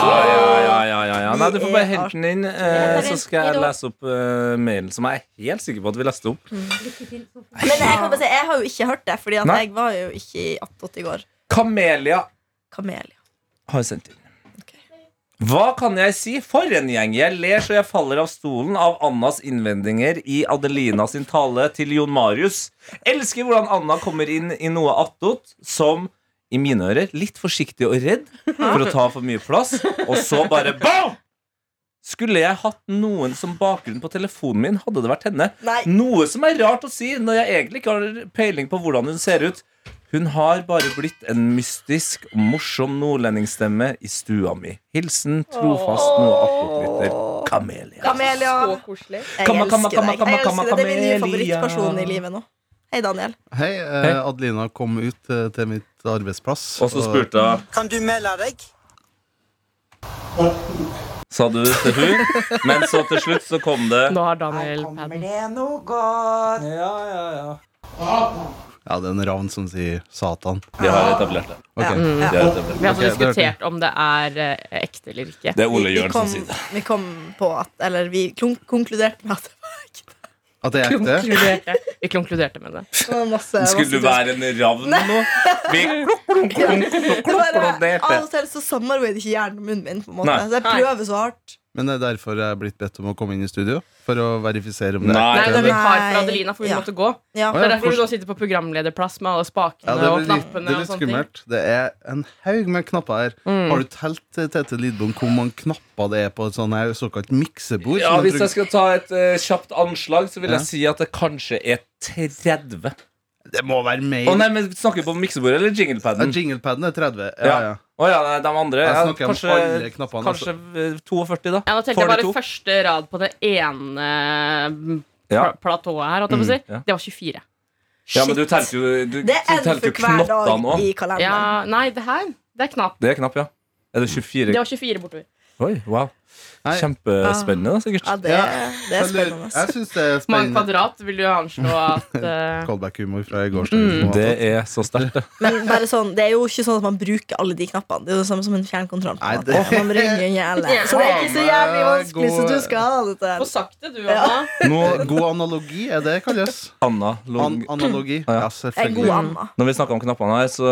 C: ja, ja, ja, ja, ja. Nei, du får bare hente den inn, eh,
B: Vi er
C: så skal
B: artig
C: jeg
B: nå.
C: lese opp eh, mailen som jeg er helt sikker på at vi leste opp.
E: Men jeg, kan bare si, jeg har jo ikke hørt det, Fordi at
C: Nei.
E: jeg var jo ikke i Attåt i går.
C: Kamelia
E: Kamelia.
C: har sendt inn. Hva kan jeg si? For en gjeng! Jeg ler så jeg faller av stolen av Annas innvendinger i Adelina sin tale til Jon Marius. Elsker hvordan Anna kommer inn i noe attåt som, i mine ører, litt forsiktig og redd for å ta for mye plass, og så bare BAM! Skulle jeg hatt noen som bakgrunn på telefonen min, hadde det vært henne.
E: Nei.
C: Noe som er rart å si når jeg egentlig ikke har peiling på hvordan hun ser ut. Hun har bare blitt en mystisk og morsom nordlendingsstemme i stua mi. Hilsen trofast noe attpåknytter Kamelia.
E: Kamelia.
D: koselig.
E: Jeg
C: Kamma, kamma,
E: elsker
C: kamma,
E: deg. Jeg
C: kamma,
E: elsker deg. Det er min nye
C: Kamelia.
E: favorittperson i livet nå. Hei, Daniel.
H: Hei, eh,
C: Hei.
H: Adelina kom ut eh, til mitt arbeidsplass.
C: Og så spurte hun
G: Kan du melde deg?
C: sa du til hun. Men så til slutt så kom det
D: Nå har
G: Her
D: Daniel
G: kommer
D: paden.
G: det noe godt.
C: Ja, ja, ja.
H: Ja, det er en ravn som sier Satan.
C: De har etablert det.
H: Ok.
E: Ja.
D: Mm.
C: De har etablert det.
D: Vi har
H: Ok,
D: fått
H: det hørte jeg.
D: diskutert om det er eh, ekte eller ikke.
C: det er Ole
E: Vi- vi
C: Jørn som
E: kom-
C: sier det.
E: Vi kom på at Eller vi klunk- konkluderte med at det
H: At det er ekte?
D: Klonkluderte. Vi konkluderte med det.
E: var masse
C: Skulle du
E: masse-
C: være en ravn nå? Vi
E: Det bare,
C: klonkluderte.
E: Av og til så samarbeider ikke hjernen og munnen min. På en måte.
C: Nei.
E: Så jeg prøver så hardt.
H: Men det er derfor jeg er blitt bedt om å komme inn i studio. For å verifisere om det er
C: Nei.
D: Nei,
H: ekte.
D: det er
H: eller-
D: vikar for Adelina, for hun
E: Ja.
D: måtte gå.
E: Ja.
H: Å
D: Det
H: ja,
D: er derfor
H: forst-
D: du da sitter på programlederplass med alle spakene
H: Ja, det
D: og
H: blir litt, det
D: knappene.
H: er
D: og
H: litt
D: sånne ting. Mm.
H: skummelt. Det er en haug med knapper her. Har du telt eh, Tete Lidbom hvor mange knapper det er på et sånt her såkalt miksebord? som
C: Ja,
H: man
C: Hvis jeg
H: trykker-
C: skal ta et eh, kjapt anslag, så vil
H: Ja.
C: jeg si at det kanskje er 30. Å
H: Det må være mer!
C: nei, men Snakker vi på miksebordet eller
H: Ja,
C: jinglepaden?
H: Jinglepaden er 30. Ja, ja.
C: Å ja, nei, de andre.
H: Jeg
C: Ja,
H: snakker om
C: kanskje,
H: alle altså. knappene,
C: kanskje eh, 42, da.
D: Ja, nå telte jeg
C: Får
D: bare
C: de to?
D: første rad på det ene mm,
C: Ja.
D: pla- platået her. holdt jeg på å si.
C: Mm, ja.
D: Det var 24.
C: Ja, men du telte jo, du,
E: Det er
C: du
E: en
C: telte
E: for
C: jo
E: hver
C: knottene
E: dag
C: òg.
E: i kalenderen.
D: Ja, nei, det her det er knapt.
C: Det er knapp, ja. Er det 24?
D: Det var 24 bortover.
C: Oi, wow.
H: Nei.
C: Kjempespennende, da, sikkert.
E: Ja, det,
H: Ja.
E: det er
H: Jeg lurer-
E: spennende.
H: Jeg syns det er
D: Mange
H: spennende.
D: kvadrat vil du anslå at eh,
H: Callback-humor fra i gårsdagen.
C: Mm. Det er så sterkt, det.
E: Men bare sånn, det er jo ikke sånn at man bruker alle de knappene. Det er jo det samme som en fjernkontroll. På
H: Nei,
E: en
H: det-
E: måte. Man ringer inn i alle. Så det er ikke så jævlig vanskelig som du skal ha det
D: Få
E: til.
D: sagt det, du, Anna.
H: Nå, god analogi er det kalles.
C: Anna
H: An
C: Long.
H: analogi.
C: Ja.
H: Ja,
E: En god
H: selvfølgelig.
E: Anna.
C: Når vi snakker om knappene her, så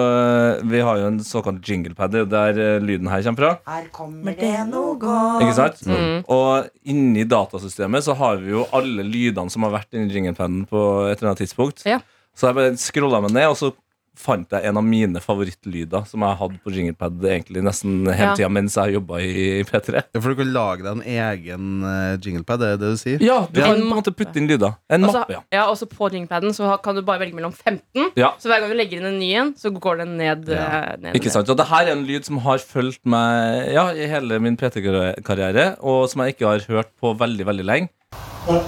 C: eh, vi har jo en såkalt jinglepad, det er jo der eh, lyden her kommer fra.
G: Her kommer det noe godt.
C: Ikke sant?
E: Mm.
C: Og inni datasystemet så har vi jo alle lydene som har vært inni jinglepaden på et eller annet tidspunkt.
D: Ja.
C: Så jeg bare scrolla meg ned, og så fant jeg en av mine favorittlyder som jeg hadde på jinglepad egentlig nesten hele
D: Ja.
C: tida mens jeg jobba i P3.
H: Ja, For du kan lage deg en egen eh, jinglepad, det er det du sier?
C: Ja, du
D: Ja. Altså-
C: kan på
D: En
C: en måte putte inn lyder. En
D: Og så-
C: mappe, ja.
D: ja, og så på ringpaden så kan du bare velge mellom 15.
C: Ja.
D: Så hver gang du legger inn en ny en, så går den ned.
H: Ja.
D: eh, ned
C: Ikke sant, og det her er en lyd som har fulgt meg ja, i hele min PT-karriere, og som jeg ikke har hørt på veldig, veldig lenge.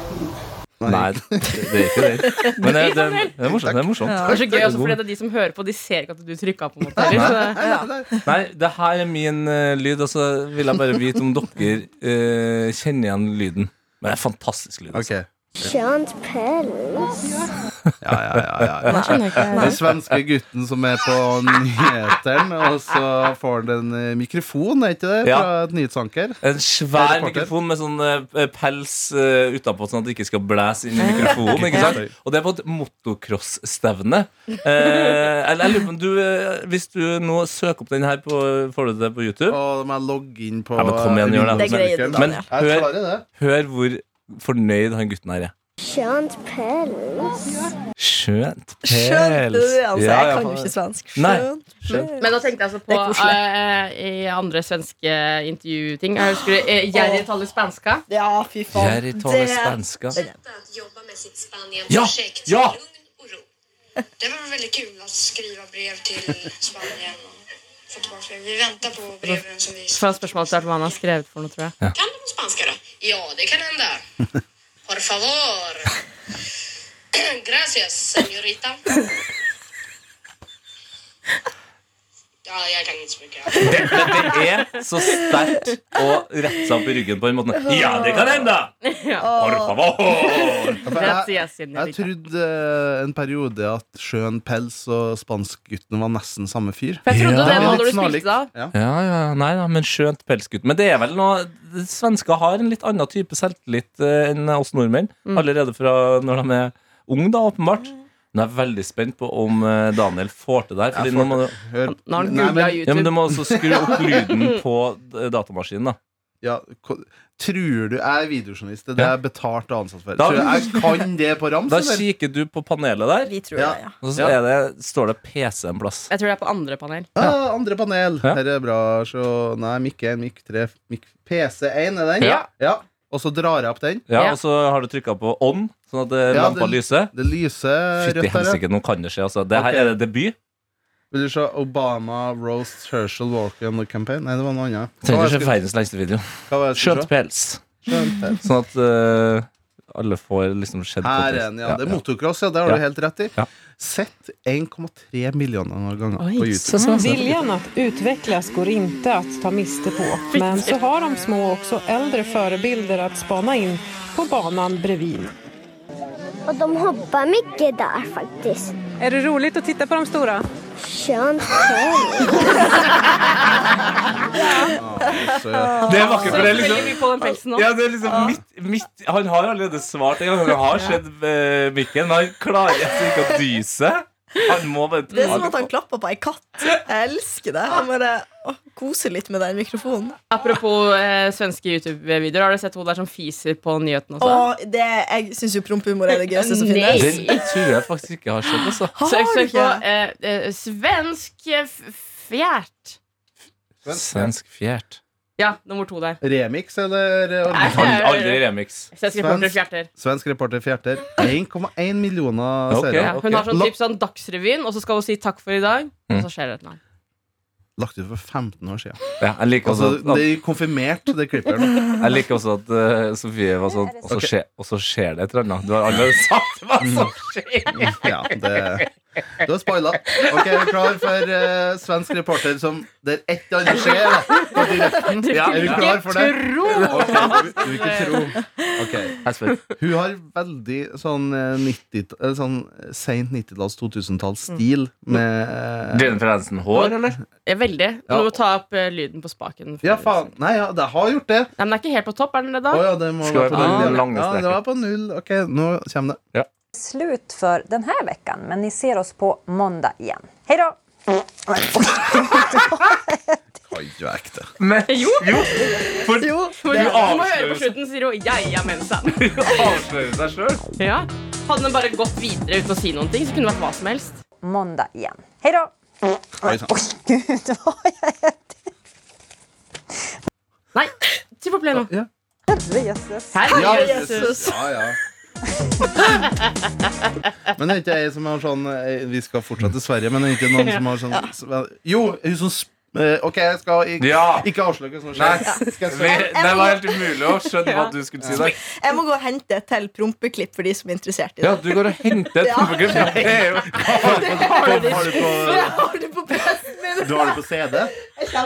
C: Nei, det det er ikke det. Men det, det, det er morsomt. Det er morsomt.
D: Det er så gøy også, fordi det er de som hører på, de ser ikke at du trykka på. en måte Liksom. heller, så det-
C: Nei, det her er min eh, lyd, og så vil jeg bare vite om dere eh, kjenner igjen lyden. Men det er fantastisk lyd.
H: Ok.
C: Altså.
I: Kjønt pels.
H: Ja, ja, ja, ja, ja. Den svenske gutten som er på nyhetene, og så får han en eh, mikrofon, er ikke det?
C: Ja.
H: Fra et nyhetsanker.
C: En
H: Det
C: svær
H: er reporter.
C: mikrofon med sånn eh, pels uh, utapå, sånn at det ikke skal blæse inn i mikrofonen. ikke sant?
H: Ja.
C: Og det er på et motocross-stevne. Eh, eller jeg lurer på om du eh, Hvis du nå søker opp den her, på, får du det på YouTube?
H: Og da må jeg logge inn på
C: Ja, men kom igjen, gjør det.
E: Det greier du,
C: Men
E: Daniel.
H: Jeg
C: hør,
H: klarer det.
C: hør hvor fornøyd han gutten her er.
I: Kjønt pels.
C: Skjønt pels.
E: Skjønt du det, altså.
C: Ja,
E: Jeg
C: ja,
E: kan jo
C: faen.
E: ikke svensk.
C: Nei.
E: Skjønt.
C: Skjønt.
D: Men da tenkte jeg altså
E: Det er
D: på eh, i andre svenske intervjuting. Jeg husker det, eh, Jerry taler spanska.
E: Ja, fy faen.
C: Jerry taler
E: Det-
C: spanska.
I: Att jobba med sitt
C: Ja,
I: Spanienprojekt
C: ja.
I: i lugn och ro. Det var väldigt kul att skriva brev till Spanien och få tillbaka det. Vi väntar på breven som vi...
D: Så var spørsmålet til hva han har skrevet for noe, tror jeg.
I: Kan du på spanska då? Ja, det kan hända. Por favor. Gracias, señorita. Ja, jag kan inte så mycket.
C: Men det er så sterkt å rette seg opp i ryggen på en måte. Ja, det kan hende! Por favor!
H: Jeg-
D: Gracias,
H: Jeg
D: señorita.
H: trodde eh, en periode at Skjøn Pels og Spanskgutten var nesten samme fyr.
D: For jeg trodde
C: Ja.
D: det var
H: Litt
D: når du
H: snarlikt.
D: spilte da.
H: Ja.
C: Ja, ja, nei da, men skjønt pelsgutt. Men det er vel noe Svensker har en litt annen type selvtillit eh, enn oss nordmenn. Allerede fra når de er unge, da, åpenbart. Men jeg er veldig spent på om eh, Daniel får til det her. Fordi
H: Jeg
C: nå
H: får
C: må du,
H: Hør,
D: Nå har han
H: Nei,
D: googla
H: men-
C: ja, men du
D: YouTube.
C: må også skru opp lyden på eh, datamaskinen, da.
H: ja, ko- tror du jeg er videojournalist? Det er det jeg er betalt og ansatt for.
C: Da-
H: Tror du jeg kan det på rams?
C: Da
H: eller?
C: kikker du på panelet der,
E: Vi tror det, ja.
C: og så er det, står det PC en plass.
D: Jeg tror det er på andre panel.
H: Ja, andre panel.
C: Ja.
H: Her er bra. Så, nei, mikk 1, mikk 3, mikk PC1 er den.
C: Ja.
H: Og så drar jeg opp den.
C: Ja,
D: Ja.
C: Og så har du trykka på on, sånn at eh,
H: Ja,
C: lampa
H: det-
C: lyser.
H: Det lyser
C: Fytti
H: rødt der. ja.
C: helsike, nå kan det skje. Altså. Det her
H: Ok.
C: er det debut.
H: Vil du se Obama roast Herschel Walker on the campaign? Nei, det var noe annet. Hva
C: Trenger
H: var
C: ikke
H: det
C: verdens lengste video.
H: jeg skulle- hva var det jeg
C: Skjønt
H: skulle se?
C: pels.
H: Skjønt pels.
C: Sånn at eh, alle får liksom skjedd på
H: Her er
C: pels.
H: den, ja. Det er motocross, ja. Det har
C: Ja.
H: du helt rett i.
C: Ja.
H: Sett 1,3 millioner ganger på YouTube.
J: Viljan att utvecklas går inte att ta miste på. Men så har de små också äldre förebilder att spana in på banan bredvid.
K: Och de hoppar mycket där faktiskt.
J: Är det roligt att titta på de stora?
K: Skönt själv.
C: Det er vakkert, for det er liksom
D: Veldig mye på den pelsen nå.
C: ja, det er liksom midt, midt, Han har allerede svart en gang. Han har sett eh, mikken, men han klarer altså ikke å dy seg. Han må bare
E: Det er som at han klapper på ei katt. Jeg elsker det. Han bare å, koser litt med den mikrofonen.
D: Apropos eh, svenske YouTube-videoer, har du sett hun der som fiser på nyheten
L: Altså?
D: også?
E: Og det, jeg syns jo promphumor er det gøyeste som finnes.
C: Den tror jeg faktisk ikke har skjedd, altså.
D: Søk,
E: Har du
D: søk på
E: ikke?
D: eh, eh, svensk eh, f- fjert.
C: Svensk fjert.
D: Ja, nummer to der.
H: Remix eller
D: Aldri- aldri
C: remix.
D: Svensk reporter fjerter.
H: Svensk reporter fjerter. 1,1 millioner
C: Ok,
H: seere.
D: Ja, hun har sånn
H: La-
D: typ sånn Dagsrevyen, og så skal hun si takk for i dag, og så skjer det et eller annet.
H: Lagt ut for 15 år siden.
C: Ja, jeg liker
H: altså,
C: også at-
H: det er konfirmert, det klippet. her nå.
C: Jeg liker også at eh, Sofie var sånn Og så
H: Ok.
C: skjer, og så skjer det et eller annet. Du har allerede sagt altså. hva som
H: Mm.
C: skjer.
H: Ja, det Du har spoila. Ok, er du klar for eh, svensk reporter som der ett eller annet skjer? Da, på direkten?
C: Ja.
H: er du klar for det?
D: Tro!
H: Ok, du, du vil ikke tro. Ok.
C: Jeg er spent.
H: Hun har veldig sånn, eh, 90, eh, sånn seint 90-talls, 2000-talls stil med eh,
C: Jennifer Aniston hår, eller?
D: Ja, veldig. Du
H: Ja.
D: må ta opp eh, lyden på spaken.
H: Ja, faen. Ah. Nei, ja, det har gjort det.
D: Nei, men det er ikke helt på topp, er den det da?
H: Å ja, det må
C: Skal
H: være på
C: være på den
H: null. Ja,
C: lange
H: det
C: streken.
H: var på null. Ok, nå kommer det.
M: Slut för den här veckan, men ni ser oss på måndag igen. Hej då!
H: Kan ikke være ekte.
C: Men, jo. For
E: jo,
D: For
C: du
D: du må høre på
C: avslører
D: slutten, sier hun. Jeg er mensa.
C: avslører seg sjøl.
D: Ja. Hadde den bare gått videre uten å si noen ting, så kunne det vært hva som helst.
M: Måndag igen. Hej då!
H: Oi sånn. sann.
M: Gud, vad
D: Nei, si på play nå.
H: Ja.
M: Jesus.
D: Herre
H: sånn. Ja,
D: Jesus.
H: Ja, ja. Men det er ikke ei som har sånn eh, Vi skal fortsatt til Sverige, men det er ikke noen som har sånn sve- Jo, hun som sp- eh, OK, jeg skal ikke,
C: Ja.
H: ikke avsløre hva som
C: Nei.
H: skjer. Skal jeg spørre?
C: Det det var helt umulig å skjønne hva du skulle si der.
E: Jeg må gå og hente et til prompeklipp for de som er interessert i det.
C: Ja, du går og henter et
E: Ja.
C: prompeklipp. Det er jo-
H: Har du- har du på-
E: Har du på PC-en min?
H: Du har det på CD?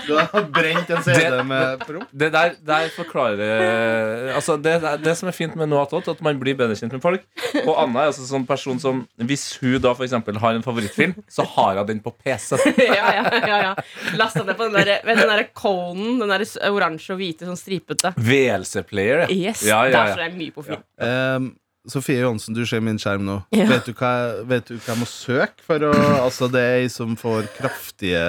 H: Du har brent en CD
C: Det-
H: med promp?
C: Det der, der forklarer altså det, det, det som er fint med Noah Tott, at man blir bedre kjent med folk. Og Anna er altså sånn person som Hvis hun da for eksempel har en favorittfilm, så har hun den på PC-en.
D: Ja, ja, ja, ja. Lasta ned på den derre vet du, den der conen. Den derre s- oransje og hvite, sånn stripete.
C: VLC-player, ja.
D: Yes,
C: Ja, ja,
D: Der
C: ja.
D: står jeg mye på film.
H: Ehm, Sofie Johansen, du ser min skjerm nå.
D: Ja.
H: Vet, du hva, vet du hva jeg må søke for å Altså, det er ei som får kraftige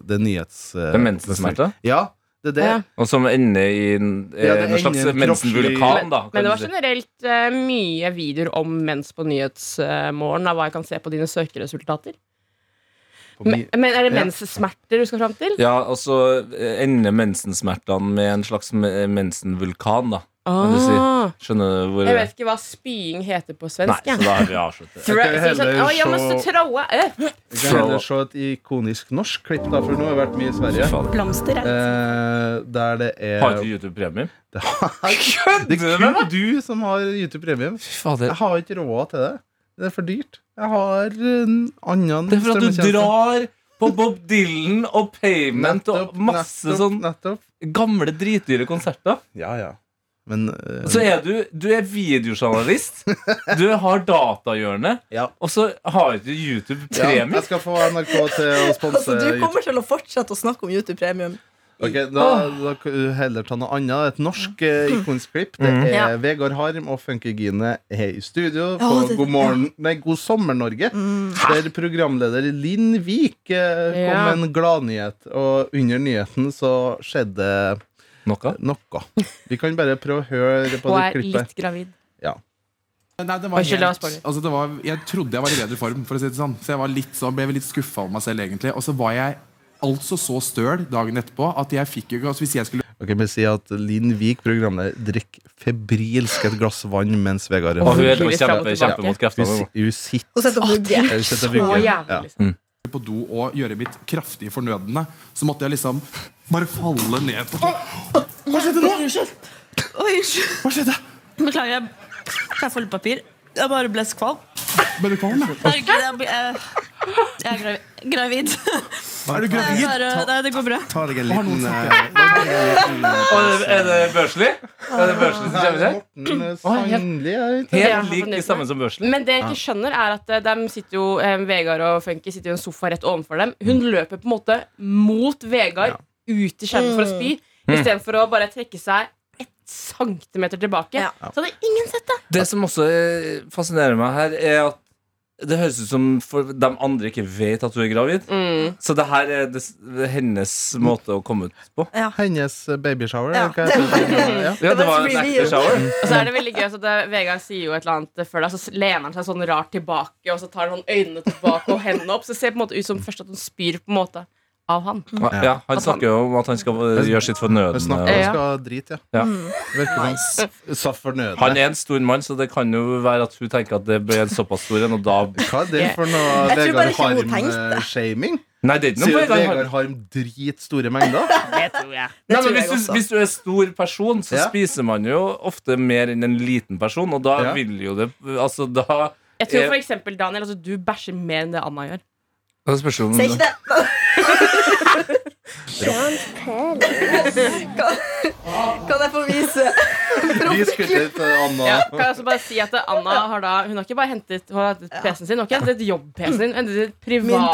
H: Det er nyhets... eh,
C: Det er mensensmerter?
H: Ja, det er det.
D: Ja.
C: Og som ender i en, eh,
H: Ja, det
C: en slags
H: ender i en
C: mensenvulkan,
H: kroppslig-
C: da.
D: Men det var
C: kan du si.
D: generelt eh, mye videoer om mens på Nyhetsmorgen. av hva jeg kan se på dine søkeresultater.
H: På
D: Men,
H: mi-
D: men er det
H: Ja.
D: menssmerter du skal fram til?
C: Ja, og så eh, ender mensensmertene med en slags me- eh, mensenvulkan, da. Kan du si.
D: Ah.
C: Skjønner du hvor
D: Jeg vet ikke hva spying heter på
C: Nei,
D: svensk.
C: så da har vi avsluttet.
D: Throw,
H: Jeg kan
D: sier sånn,
H: heller
D: «Å, jeg måste
H: se-
D: throwa up».
H: Vi kan heller se et ikonisk norsk klipp, da, for nå har jeg vært mye i Sverige.
A: Blomster er
H: Eh, der det er
C: Har ikke YouTube premium?
H: Det har- det
C: Kødder du
H: er
C: med
H: kun du Ah, som har YouTube-premium.
C: Fy
H: Jeg
C: fader.
H: har ikke råd til det. Det er for dyrt. Jeg har en annen
C: Det er for at du
H: strømmetjeneste.
C: drar på Bob Dylan og Payment og
H: Nettopp,
C: masse
H: nettopp,
C: sånn
H: Nettopp.
C: gamle, dritdyre konserter.
H: Ja, ja. Men eh,
C: Og Så er du Du er videojournalist. Du har datahjørnet.
H: Ja.
C: Og så har du YouTube
H: ja,
C: Premium.
H: jeg skal få NRK til å sponse
E: Altså, du
H: YouTube.
E: kommer til å fortsette å snakke om YouTube Premium.
H: Ok, da,
C: Ah.
H: da kan du heller ta noe annet. Et norsk eh, ikonisk klipp. Det
C: Mhm.
H: er
E: Ja.
H: Vegard Harm og Funkygine er i studio på
E: Å, det- Mm.
H: God morgen Nei, God sommer, Norge. Der programleder Linn Vik eh, kom
D: Ja.
H: med en gladnyhet, og under nyheten så skjedde
C: Noe?
H: noe. Vi kan bare prøve å høre på
D: Og
H: det
D: er
H: klippet.
D: litt gravid.
N: Nei, det var
D: Unnskyld, det var
N: helt,
D: spoiler.
N: altså det var, jeg trodde jeg var i bedre form, for å si det sånn. Så jeg var litt, så ble litt skuffa over meg selv, egentlig. Og så var jeg altså så støl dagen etterpå at jeg fikk jo ikke altså Hvis jeg skulle
H: Ok, vi sier at Linn Vik, programleder, drikker febrilsk et glass vann mens Vegard
C: Og hun
H: Harm
C: er på kjempe,
D: Ja.
C: kjempe
H: Hun
C: mot kreftene. nå.
H: si- hun sitter
E: Og sette opp mugge.
H: hun sitter og
D: Å,
H: vugger. Ja.
D: jævlig. liksom.
N: på do og gjøre mitt kraftige fornødne, så måtte jeg liksom bare falle ned på Hva skjedde nå?
G: Oi, unnskyld.
N: Hva skjedde?
G: Beklager, jeg er full papir. Jeg bare ble skvalm.
N: Ble du kvalm? da?
L: Jeg er gravid. gravid.
N: Er du gravid?
L: Jeg bare- Nei, det går bra.
H: Ta deg en liten
N: Har
H: eh, ta deg en liten, eh,
C: Er det Børsli? Er eh, det Børsli som kommer her?
H: Morten Sandli er ute.
C: Helt lik det samme som Børsli.
D: Men det jeg ikke skjønner, er at eh, dem sitter jo, eh, Vegard og Funky sitter jo i en sofa rett ovenfor dem. Hun
H: Mm.
D: løper på en måte mot Vegard ut i skjermen for å spy,
C: Mm.
D: istedenfor å bare trekke seg ett centimeter tilbake. Så hadde ingen sett det.
C: Det som også eh, fascinerer meg her, er at det høres ut som for de andre ikke vet at hun er gravid.
D: Mm.
C: Så det her er des- det er hennes måte å komme ut på.
H: Hennes babyshower.
C: Ja.
H: er det ikke jeg tror? Ja.
C: Ja, det var en actor shower.
D: Og så er det veldig gøy så det, Vegard sier jo et eller annet før det, så lener han seg sånn rart tilbake, og så tar han sånn øynene tilbake og hendene opp. Så det ser på en måte ut som først at hun spyr på en måte av han.
C: Ja, han snakker jo om at han skal eh, gjøre sitt fornødne.
H: Jeg snakker om
D: Ja.
H: å skal drite, ja.
C: Ja.
H: Virker som s- saft fornødne.
C: Han er en stor mann, så det kan jo være at hun tenker at det ble en såpass stor en, og da
H: Hva er det for noe
C: Jeg tror bare
H: Vegard
C: ikke hun tenkte.
H: Harm-shaming?
C: Nei, det er ikke noe
H: Sier du at
C: Vegard Harm.
H: Vegard Harm dritstore mengder?
D: Det tror jeg.
C: Nei, men hvis, du, hvis du er stor person, så
H: Ja.
C: spiser man jo ofte mer enn en liten person, og da
H: Ja.
C: vil jo det Altså, da
D: Jeg tror for eksempel, Daniel, altså, du bæsjer mer enn det Anna gjør.
C: Da spørs det om
D: Sier ikke det.
E: Kan jeg få vise
H: Vi skulle til Anna.
D: Ja, kan jeg også bare si at Anna har da Hun har ikke bare hentet, hun har hentet PC-en sin, hun har ikke hentet jobb-PC-en sin, hun har hentet privat.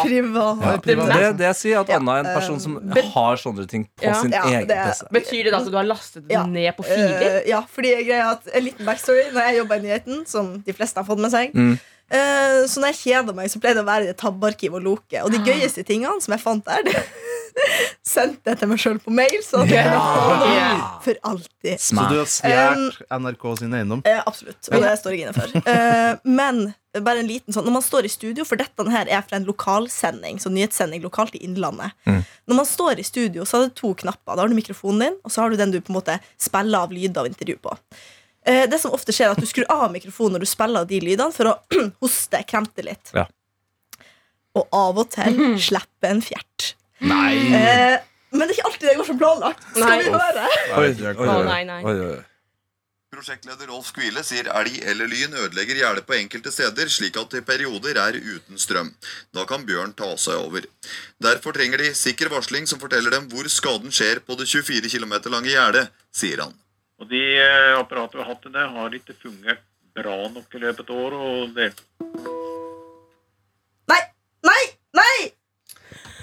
C: Ja, det er det jeg sier, at Anna er en person som
D: Ja.
C: har sånne ting på
D: Ja.
C: sin
E: Ja,
C: egen
E: det er-
C: PC.
D: Betyr det da at du har lastet den ned på filer?
E: Eh, ja, fordi greia er at En liten backstory. Når jeg jobba i nyheten, som de fleste har fått med seg
C: Mm.
E: eh, Så når jeg kjeder meg, så pleide det å være i et tabbearkiv og loke. Og de gøyeste tingene som jeg fant der, det sendte jeg til meg sjøl på mail. Så at jeg
H: Ja.
E: kunne få dem
H: Ja.
E: for alltid.
H: Så du har
E: Um,
H: stjålet NRK sin eiendom?
E: Eh, absolutt. Og det står jeg inne for. Eh, men bare en liten sånn når man står i studio, for dette her er fra en lokalsending, så nyhetssending lokalt i Innlandet. Når man står i studio, så har du to knapper. Da har du mikrofonen din, og så har du den du på en måte spiller av lyd av intervju på. Eh, det som ofte skjer, er at du skrur av mikrofonen når du spiller av de lydene, for å hoste, kremte litt.
C: Ja.
E: Og av og til slippe en fjert.
C: Nei.
E: Eh, men det er ikke alltid det går som planlagt. Skal
D: Nei.
E: vi høre?
D: Å, nei, nei.
O: Prosjektleder Rolf Skvile sier elg eller lyn ødelegger gjerdet på enkelte steder, slik at det i perioder er uten strøm. Da kan bjørn ta seg over. Derfor trenger de sikker varsling som forteller dem hvor skaden skjer på det 24 km lange gjerdet, sier han.
P: Og de eh, apparatene vi har hatt til det, har ikke fungert bra nok i løpet av året. Og det
E: Nei! Nei!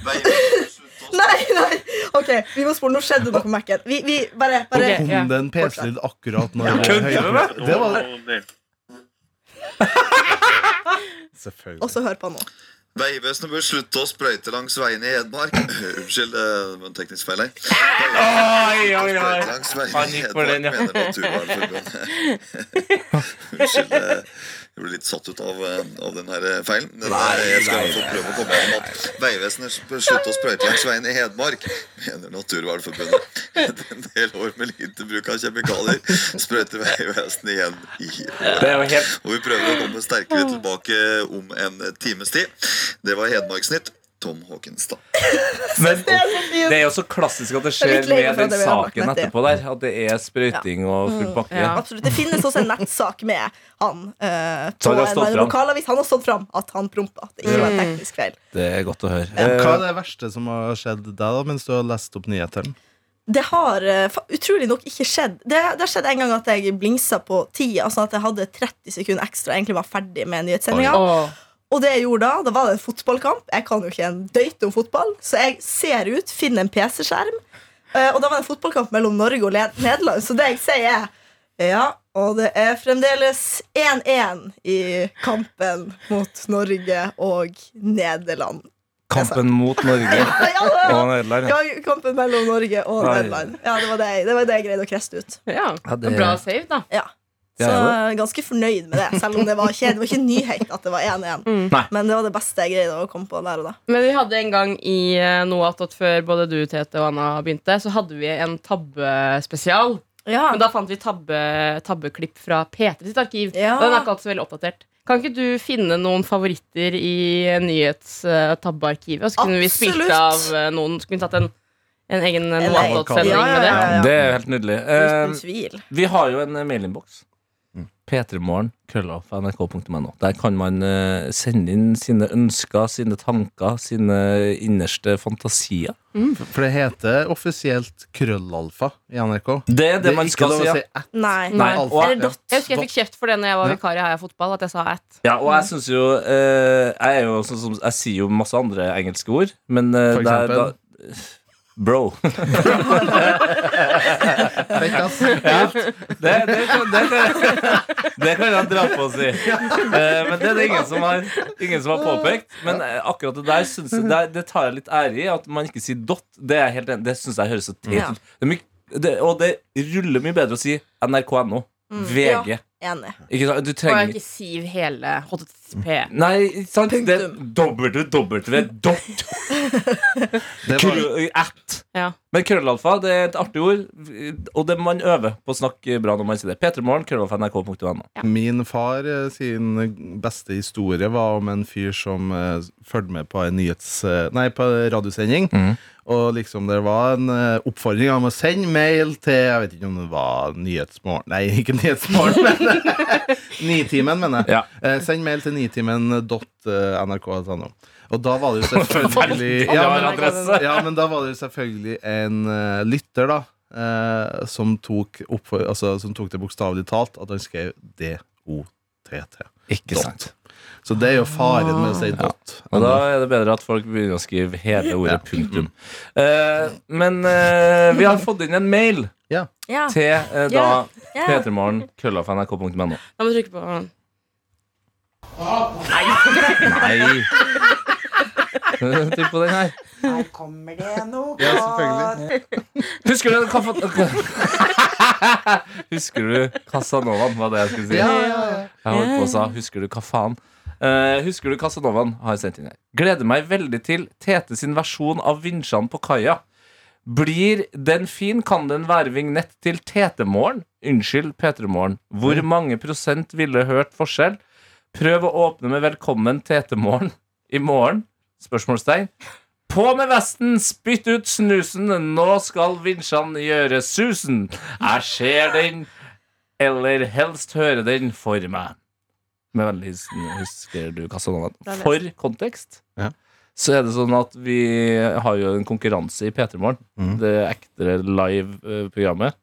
E: Nei, nei! Ok, vi må spole. Nå skjedde det noe på Mac-en. Vi, vi bare, bare
H: Kom det en PC-lyd akkurat når
C: Kødder du med?
H: Det var
O: Selvfølgelig.
E: Og så hør på nå.
O: Vegvesenet bør slutte å sprøyte langs veiene i Hedmark. Unnskyld, det var en teknisk feil her.
C: Oi, oi, oi.
O: Langs veiene
C: Han
O: i
C: gikk
O: Hedmark
C: for den, ja.
O: mener Naturvernforbundet. Unnskyld, eh, jeg ble litt satt ut av, eh, av den her eh, feilen. Men, eh, jeg skal i hvert fall prøve å komme gjennom at Vegvesenet bør slutte å sprøyte langs veiene i Hedmark, mener Naturvernforbundet. Etter en del år med lite bruk av kjemikalier sprøyter Vegvesenet igjen i
C: Det er jo helt
O: og vi prøver å komme sterkere tilbake om en times tid. Det var Hedmarksnytt. Tom Håkenstad.
C: Men det er jo så klassisk at det
E: Jeg er
C: skjer
E: litt lei meg
C: med
E: for at jeg
C: den
E: vil ha
C: saken
E: baknett, ja.
C: etterpå der. At det er sprøyting og full pakke.
E: Ja, absolutt. Det finnes også en nettsak med han eh,
C: Så
E: på
C: han har
E: en
C: stått fram.
E: lokalavis. Han har stått fram at han prompa. Det ikke var en
C: Mm.
E: teknisk feil.
C: Det er godt å høre.
H: Eh, Hva er det verste som har skjedd deg da mens du har lest opp nyhetene?
E: Det har eh, fa- utrolig nok ikke skjedd. Det, det har skjedd en gang at jeg blingsa på tida, sånn at jeg hadde 30 sekunder ekstra. og Egentlig var ferdig med nyhetssendinga.
D: Oi.
E: Og det jeg gjorde da, da var det en fotballkamp. Jeg kan jo ikke en døyt om fotball, så jeg ser ut, finner en PC-skjerm. Eh, og da var det en fotballkamp mellom Norge og Le- Nederland, så det jeg sier, er ja. Og det er fremdeles 1-1 i kampen mot Norge og Nederland.
C: Kampen mot Norge og Nederland.
E: Ja,
C: ja.
E: kampen mellom Norge og
C: Nei.
E: Nederland. Ja, det var det, jeg- det var det jeg greide å kreste ut.
D: Ja,
C: Ja, det- bra
D: save, da.
E: Ja.
C: Ja,
E: Så
C: ja.
E: jeg er ganske fornøyd med det, selv om det var ikke, det var ikke nyhet at det var 1-1.
C: Nei.
E: Men det var det beste jeg greide å komme på der og da.
D: Men vi hadde en gang i eh, Noat at før både du, Tete og Anna begynte, så hadde vi en tabbespesial. Men da fant vi tabbe, tabbeklipp fra P3 sitt arkiv.
E: Ja.
D: Og den er ikke alltid så veldig oppdatert. Kan ikke du finne noen favoritter i nyhetstabbearkivet? Og så kunne vi spilt av
E: Absolutt.
D: eh, noen. Så kunne vi tatt en, en egen
E: En egen-
D: Noatot-sending
E: Ja, ja,
D: med det.
E: ja, ja.
C: Det er jo helt nydelig. Eh,
E: Uten tvil.
C: vi har jo en eh, mailinnboks. P3morgen, krøllalf, nrk.no. Der kan man eh, sende inn sine ønsker, sine tanker, sine innerste fantasier.
H: Mm, For det heter offisielt krøllalfa i NRK.
C: Det er det man
H: ikke
C: skal
H: lov å
C: si, ja.
H: at-
D: Nei.
H: Nei, alfa,
D: Eller
H: ja.
D: dot. Jeg husker jeg fikk kjeft for det når jeg var vikar i Heia Fotball. At jeg sa at.
C: Ja, og jeg synes jo eh, Jeg er jo sånn som Jeg sier jo masse andre engelske ord, men eh,
H: For
C: det er da
H: eksempel?
C: Bro. Ja, det, det, det, det, det kan jeg dra på å si. Eh, men det er det ingen som har, ingen som har påpekt. Men eh, akkurat det der synes jeg, det, det tar jeg litt ære i. At man ikke sier dot. Det, er jeg helt, enig- det syns jeg høres så teit
E: Ja.
C: ut. Det er mye- det- Og det ruller mye bedre å si nrk.no.
D: Mm.
C: VG.
D: Ja, enig.
C: Ikke sant? Du
D: Og jeg
C: trenger
D: ikke siv hele HTTP.
C: Nei, ikke sant? Det er www. Dot. Krøll- At.
D: Ja.
C: Men krøllalfa det er et artig ord, og det man øver på å snakke bra når man sier det. P3morgen, krøllalfa, nrk.no.
H: Min far eh, sin beste historie var om en fyr som eh, fulgte med på en nyhets... eh, nei, på en radiosending. Og liksom det var en eh, oppfordring om å sende mail til Jeg vet ikke om det var Nyhetsmorgen Nei, ikke Nyhetsmorgen, men Nitimen, mener jeg. Eh, send mail til eh, nitimen.nrk.no. Og da var det jo selvfølgelig
C: Veldig rar adresse.
H: ja, altså. men da var det jo selvfølgelig en eh, lytter, da, eh, som, tok opp, altså, som tok det bokstavelig talt, at han skrev DOTT.
C: Ikke
H: sant. Så det er jo faren med å si dot.
C: Og da er det bedre at folk begynner å skrive hele ordet punktum. Eh, men eh, vi har fått inn en mail
D: Ja.
C: til eh, da
D: Ah. Ja. Ja.
C: p3morgen, krøllalfa, nrk.no.
D: Da må du trykke på
C: Nei! Trykk på den her.
Q: Her kommer det noe
C: Ja,
Q: godt.
C: selvfølgelig. Husker du hva fa- Husker du Casanovaen, var det jeg skulle si.
Q: Ja, ja, ja.
C: Jeg holdt på og sa 'husker du hva faen'? Eh, husker du Casanovaen? Har jeg sendt inn her. Gleder meg veldig til Tete sin versjon av Vinsjan på kaia. Blir den fin, kan den være vignett til Tetemorgen? Unnskyld, P3morgen. Hvor mange prosent ville hørt forskjell? Prøv å åpne med 'Velkommen Tetemorgen' i morgen? Spørsmålstegn. På med vesten, spytt ut snusen, nå skal vinsjene gjøre susen. Jeg ser den, eller helst høre den for meg. Med vennlig hilsen, husker du Casanova? For kontekst så er det sånn at vi har jo en konkurranse i P3 Morgen. Det ekte eh, live-programmet.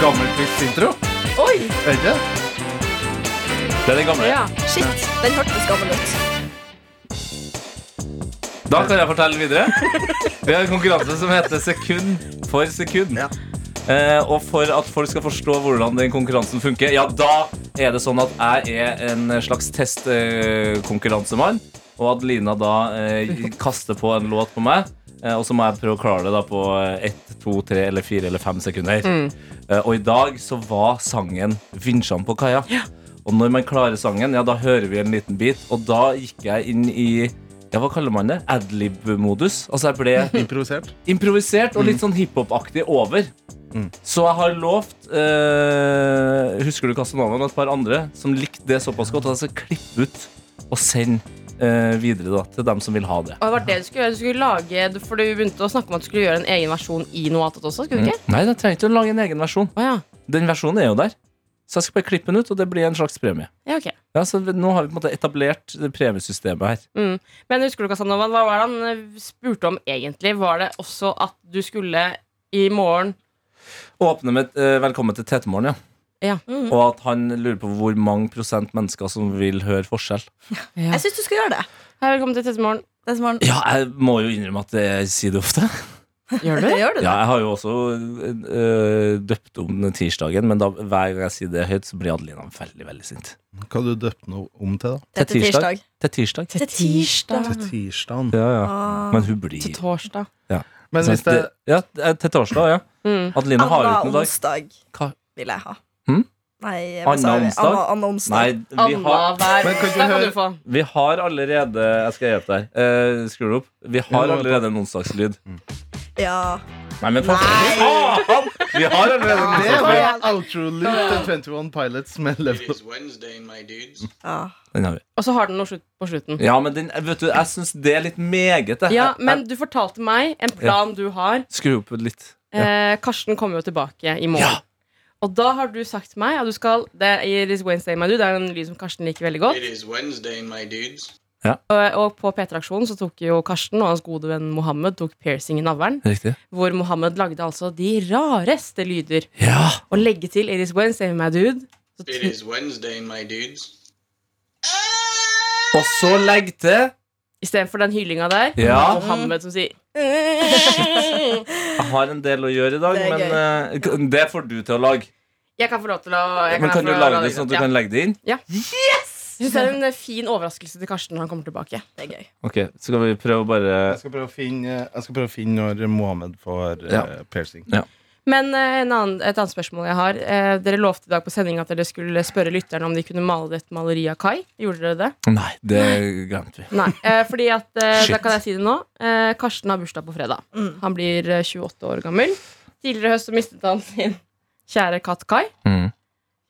H: Gammel quiz-intro.
E: Oi!
H: Er det?
C: Det er det gamle.
E: Ja. Shit, den hørtes gammel ut.
C: Da kan jeg fortelle videre. Vi har en konkurranse som heter Sekund for sekund. Eh, og for at folk skal forstå hvordan den konkurransen funker, ja, da er det sånn at jeg er en slags testkonkurransemann, og Adelina da eh, kaster på en låt på meg. eh, Og så må jeg prøve å klare det da på eh, ett, to, tre, eller fire eller fem sekunder.
Q: Mm.
C: Eh, Og i dag så var sangen 'Vinsjan på kaia'. Og når man klarer sangen, ja, da hører vi en liten bit. Og da gikk jeg inn i ja, hva kaller man det? Adlib-modus. Altså jeg ble
H: Improvisert.
C: improvisert og litt sånn hiphop-aktig over. Så jeg har lovt eh, Husker du Casanova og et par andre som likte det såpass godt? At jeg skal klippe ut og sende eh, videre da, til dem som vil ha det.
D: Og det var det du skulle gjøre. Du skulle lage, for du begynte å snakke om at du skulle gjøre en egen versjon i noe annet også. skulle du ikke?
C: Mm. Nei, jeg trenger ikke å lage en egen versjon. Den versjonen er jo der. Så jeg skal bare klippe den ut, og det blir en slags premie.
D: Ja, ok.
C: Ja, så vi- Nå har vi på en måte etablert det premiesystemet her.
D: Mm. Men husker du Casanova, hva var det han eh, spurte om egentlig? Var det også at du skulle i morgen
C: Åpne med et, eh, 'Velkommen til Tetemorgen', ja.
D: Ja.
C: Og at han lurer på hvor mange prosent mennesker som vil høre forskjell.
E: Jeg syns du skal gjøre det.
D: Hei, velkommen til Testemorgen.
C: Ja, jeg må jo innrømme at jeg sier det ofte.
D: Gjør du det? Gjør du det?
C: Ja, jeg har jo også eh, døpt om den tirsdagen, men da, hver gang jeg sier det høyt, så blir Adelina veldig, veldig sint.
H: Hva har du døpt noe om til, da?
C: Til tirsdag. Til tirsdag.
H: Til tirsdag. Til tirsdagen.
C: Ja, ja.
H: Ah.
C: Men hun blir
D: Til torsdag.
C: ja.
H: Men
C: Så
H: hvis det-
C: Ja, eh, til torsdag, ja.
D: Mm.
C: Adelina har jo ikke noe dag.
E: onsdag
C: Hva?
E: vil jeg ha.
C: Hm?
E: Nei, hva sa
C: Anna
E: vi?
C: onsdag?
E: Anna, Anna onsdag.
C: Nei, vi har,
D: hver onsdag kan du få.
C: vi har allerede Jeg skal hjelpe deg. Eh, Skru det opp. Vi har allerede en onsdagslyd.
E: Ja.
C: Nei, men for faen! Vi har allerede en
H: Det var
C: onsdagslyd.
H: outro-loop til 21 Pilots med Level Up.
C: Den har vi.
D: Og så har den noe slutt på slutten.
C: Ja, men den, vet du, jeg syns det er litt meget. det.
D: Ja,
C: Jeg-
D: men
C: jeg-
D: du fortalte meg en plan du har.
C: Skru opp litt.
D: Eh, Karsten kommer jo tilbake i morgen. Og da har du sagt til meg at du skal Det er It is Wednesday, my dude. Det er en lyd som Karsten liker veldig godt.
P: It is Wednesday, my dudes.
D: Og, og på P3-aksjonen så tok jo Karsten og hans gode venn Mohammed tok piercing i navlen.
C: Riktig.
D: Hvor Mohammed lagde altså de rareste lyder. Og legge til It is Wednesday, my dude.
P: It is Wednesday, my dudes.
C: Og så legg til
D: Istedenfor den hylinga der.
C: Ja.
D: Mohammed som sier
C: Jeg har en del å gjøre i dag,
D: Det er
C: men eh, k- det får du til å lage.
D: Jeg kan få lov til å jeg
C: Men
D: få
C: kan du
D: lov til å
C: lage det sånn at du
D: Ja.
C: kan legge det inn?
D: Ja. Jeg synes det er en eh, fin overraskelse til Karsten når han kommer tilbake. Det er gøy.
C: Ok, så skal vi prøve å bare
H: Jeg skal prøve å finne, jeg skal prøve å finne når Mohammed får eh,
C: Ja.
H: piercing.
D: Men eh, en annen, et annet spørsmål jeg har. Eh, dere lovte i dag på sending at dere skulle spørre lytterne om de kunne male et maleri av Kai. Gjorde dere det?
C: Nei, det glemte vi.
D: Nei. Eh, fordi at, eh,
C: Shit.
D: da kan jeg si det nå. Eh, Karsten har bursdag på fredag. Han blir eh, 28 år gammel. Tidligere i høst så mistet han sin kjære katt Kai.
C: Mm.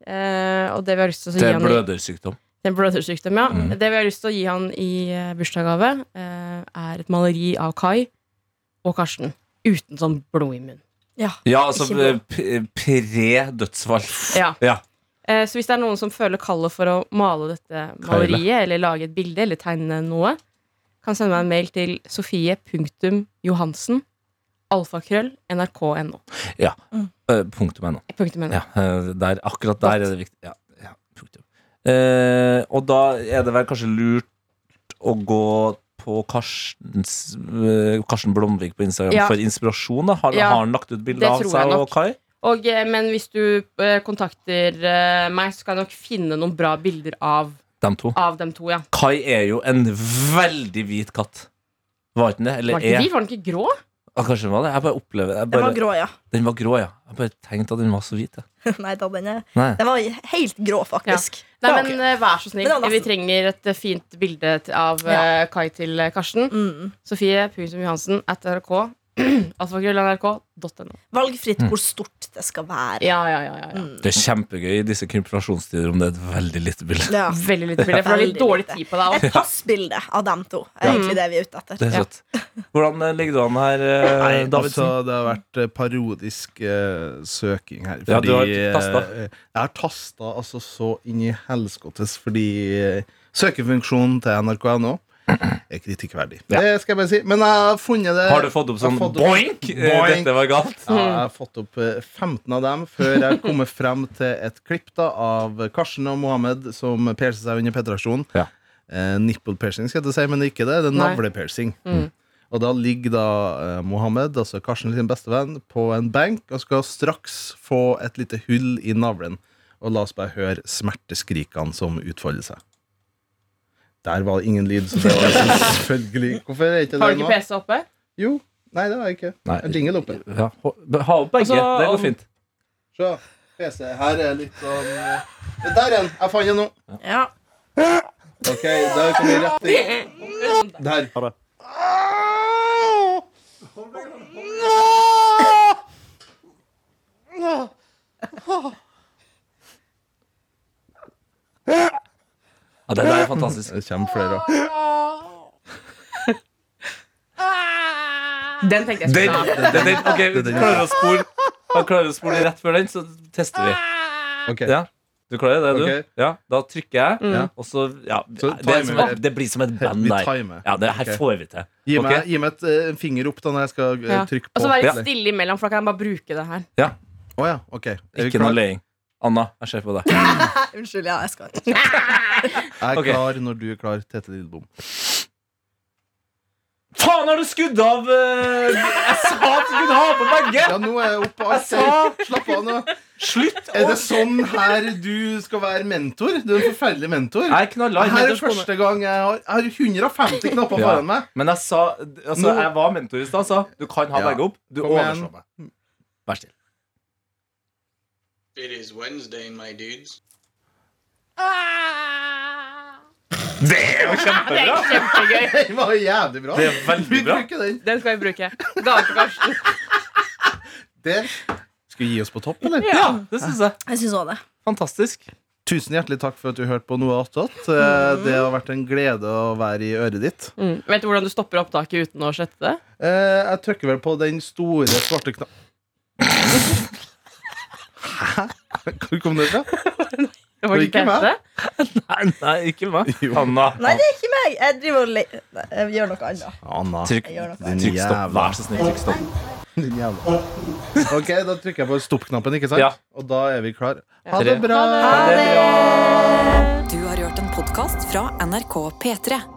D: Eh, og det vi har lyst til å gi
C: Det er
D: han i-
C: blødersykdom.
D: Det er blødersykdom, ja.
C: Mm.
D: Det vi har lyst til å gi han i eh, bursdagsgave, eh, er et maleri av Kai og Karsten. Uten sånn blod i munnen. Ja,
C: Ja, altså eh, p- pre-dødsfall.
D: Ja.
C: ja.
D: Eh, Så hvis det er noen som føler kallet for å male dette maleriet, eller lage et bilde, eller tegne noe, kan sende meg en mail til sofie.johansen alfakrøll nrk.no.
C: Ja. Eh, punktum NO.
D: Punktum NO.
C: Ja, eh, der, akkurat der er det viktig. Ja, ja, punktum. Eh, og da er det vel kanskje lurt å gå på Karstens, eh, Karsten Blomvik på Instagram
D: Ja.
C: for inspirasjon. Da. Har,
D: Ja,
C: har han lagt ut
D: det
C: bilde av
D: tror jeg
C: seg
D: nok.
C: og Kai?
D: Og, eh, men hvis du eh, kontakter eh, meg, så kan jeg nok finne noen bra bilder av,
C: De to.
D: av dem to. ja
C: Kai er jo en veldig hvit katt. Var ikke den det? Eller E.
D: Var den ikke
C: er?
D: hvit? Var den ikke grå?
C: Ja, kanskje den var det? Jeg bare opplever jeg bare,
E: var grå, ja.
C: Den var grå, ja. Jeg bare tenkte at den var så hvit. jeg.
E: Nei, da, den er
C: Nei.
E: Den var helt grå, faktisk.
D: Nei, men eh, vær så snill.
E: Men det var
D: Vi trenger et eh, fint bilde til- av
E: Ja.
D: eh, Kai til eh, Karsten.
E: Mm.
D: Sofie punktum Johansen at rk. Alfakrøll.nrk.no.
E: Valgfritt
C: Mm.
E: hvor stort det skal være.
D: Ja, ja, ja, ja, ja.
C: Det er kjempegøy i disse konfirmasjonstider om det er et veldig lite bilde.
E: Ja.
D: Veldig lite bilde, for det er litt dårlig tid på deg
E: Et passbilde av dem to er
C: Ja.
E: egentlig det vi er ute etter.
C: Det er søtt. Hvordan eh, ligger du an her, eh,
H: Nei,
C: Davidsen?
H: altså, det har vært eh, parodisk eh, søking her.
C: Ja, du har
H: eh,
C: tastet.
H: jeg har tasta altså så inn i helskottes, fordi eh, søkefunksjonen til NRK.no er kritikkverdig. Det skal jeg bare si. Men jeg har funnet det.
C: Har du fått opp sånn
H: Jeg har fått
C: boink? Eh,
H: boink.
C: Dette var galt.
H: Ja,
D: Mm.
H: jeg har fått opp eh, 15 av dem før jeg kommer frem til et klipp da av Karsten og Mohammed som piercer seg under petraksjonen. Eh, nipple piercing skal jeg ikke si, men det er ikke det. Det er
C: Nei.
H: navlepiercing.
C: Mm.
H: Og da ligger da eh, Mohammed, altså Karsten sin bestevenn, på en benk og skal straks få et lite hull i navlen. Og la oss bare høre smerteskrikene som utfolder seg. Der var det ingen lyd, så det var liksom selvfølgelig Hvorfor er ikke
D: Har
H: det
D: du
H: nå?
D: ikke PC oppe?
H: Jo. Nei, det har jeg ikke.
C: Nei.
H: Jeg jingle oppe.
C: Ja. Ha opp begge.
H: Altså,
C: det
H: om-
C: går fint.
H: Se. PC. Her er litt sånn eh, Der er den! Jeg fant den nå.
E: Ja.
H: OK, der kan vi rett inn. Der.
C: Ja, det der er fantastisk.
H: Det kommer flere òg.
D: Den tenkte jeg
C: Den,
D: skulle
C: den, den, den, ok, vi klarer å spole Han klarer å spole rett før den, så tester vi. Ja. Du klarer det, du?
H: Ok.
C: Ja, da trykker jeg,
H: Mm.
C: og så ja,
H: Så
C: det, er som,
H: timer-
C: det blir som et band
H: Vi
C: der.
H: timer.
C: Ja, det her
H: Ok.
C: får vi til.
H: Gi meg,
C: Ok?
H: gi meg et eh, finger opp da når jeg skal eh,
D: Ja.
H: trykke
D: Og
H: på.
D: så være litt
H: play.
D: stille imellom, for da kan jeg bare bruke det her.
C: Ja.
H: Å ja, ok. Er vi
C: Ikke
H: klar?
C: noe leing. Anna, jeg ser på deg.
E: Unnskyld, ja, jeg skal
H: Jeg er klar når du er klar, Tete Lillebom.
C: Faen, har du skudd av eh, Jeg sa at du kunne ha på begge!
H: Ja, nå er jeg oppe på alt.
C: Jeg
H: Slapp av nå.
C: Slutt
H: Er det sånn her du skal være mentor? Du er en forferdelig mentor.
C: Jeg knalla i
H: Her er
C: mentorskolen.
H: første gang jeg har, jeg har 150 knapper foran meg.
C: Men jeg sa Altså,
H: Nå-
C: jeg var mentor i stad, sa du kan ha
H: Ja.
C: begge opp. Du
H: Kom igjen.
C: overslår meg. Vær stille.
P: It is Wednesday, my dudes.
C: Det er jo
D: Det er kjempegøy.
H: Det var jævlig bra.
C: Det er veldig bra.
D: Den skal vi bruke. Gave til Karsten.
H: Det Skal vi gi oss på topp, eller?
D: Ja,
C: det syns jeg.
E: Jeg syns òg det.
C: Fantastisk.
H: Tusen hjertelig takk for at du hørte på Noe attåt. Eh, Det har vært en glede å være i øret ditt.
D: Mm. Vet du hvordan du stopper opptaket uten å slette det?
H: Eh, Jeg trykker vel på den store, svarte knappen Hvor kom det fra?
D: Det var ikke
H: meg.
D: Tete.
C: Nei, nei, ikke meg. Anna.
E: Nei, det er ikke meg! Jeg driver og le... Nei, Jeg gjør noe annet.
H: Anna.
C: Trykk,
E: Jeg gjør noe.
H: Din
C: trykk stopp.
H: jævla-
C: Vær så snill, trykk stopp.
H: Din jævla Ok, da trykker jeg på stopp-knappen, ikke sant?
C: Ja.
H: Og da er vi klar Ha det bra!
M: Du har hørt en podkast fra NRK P3.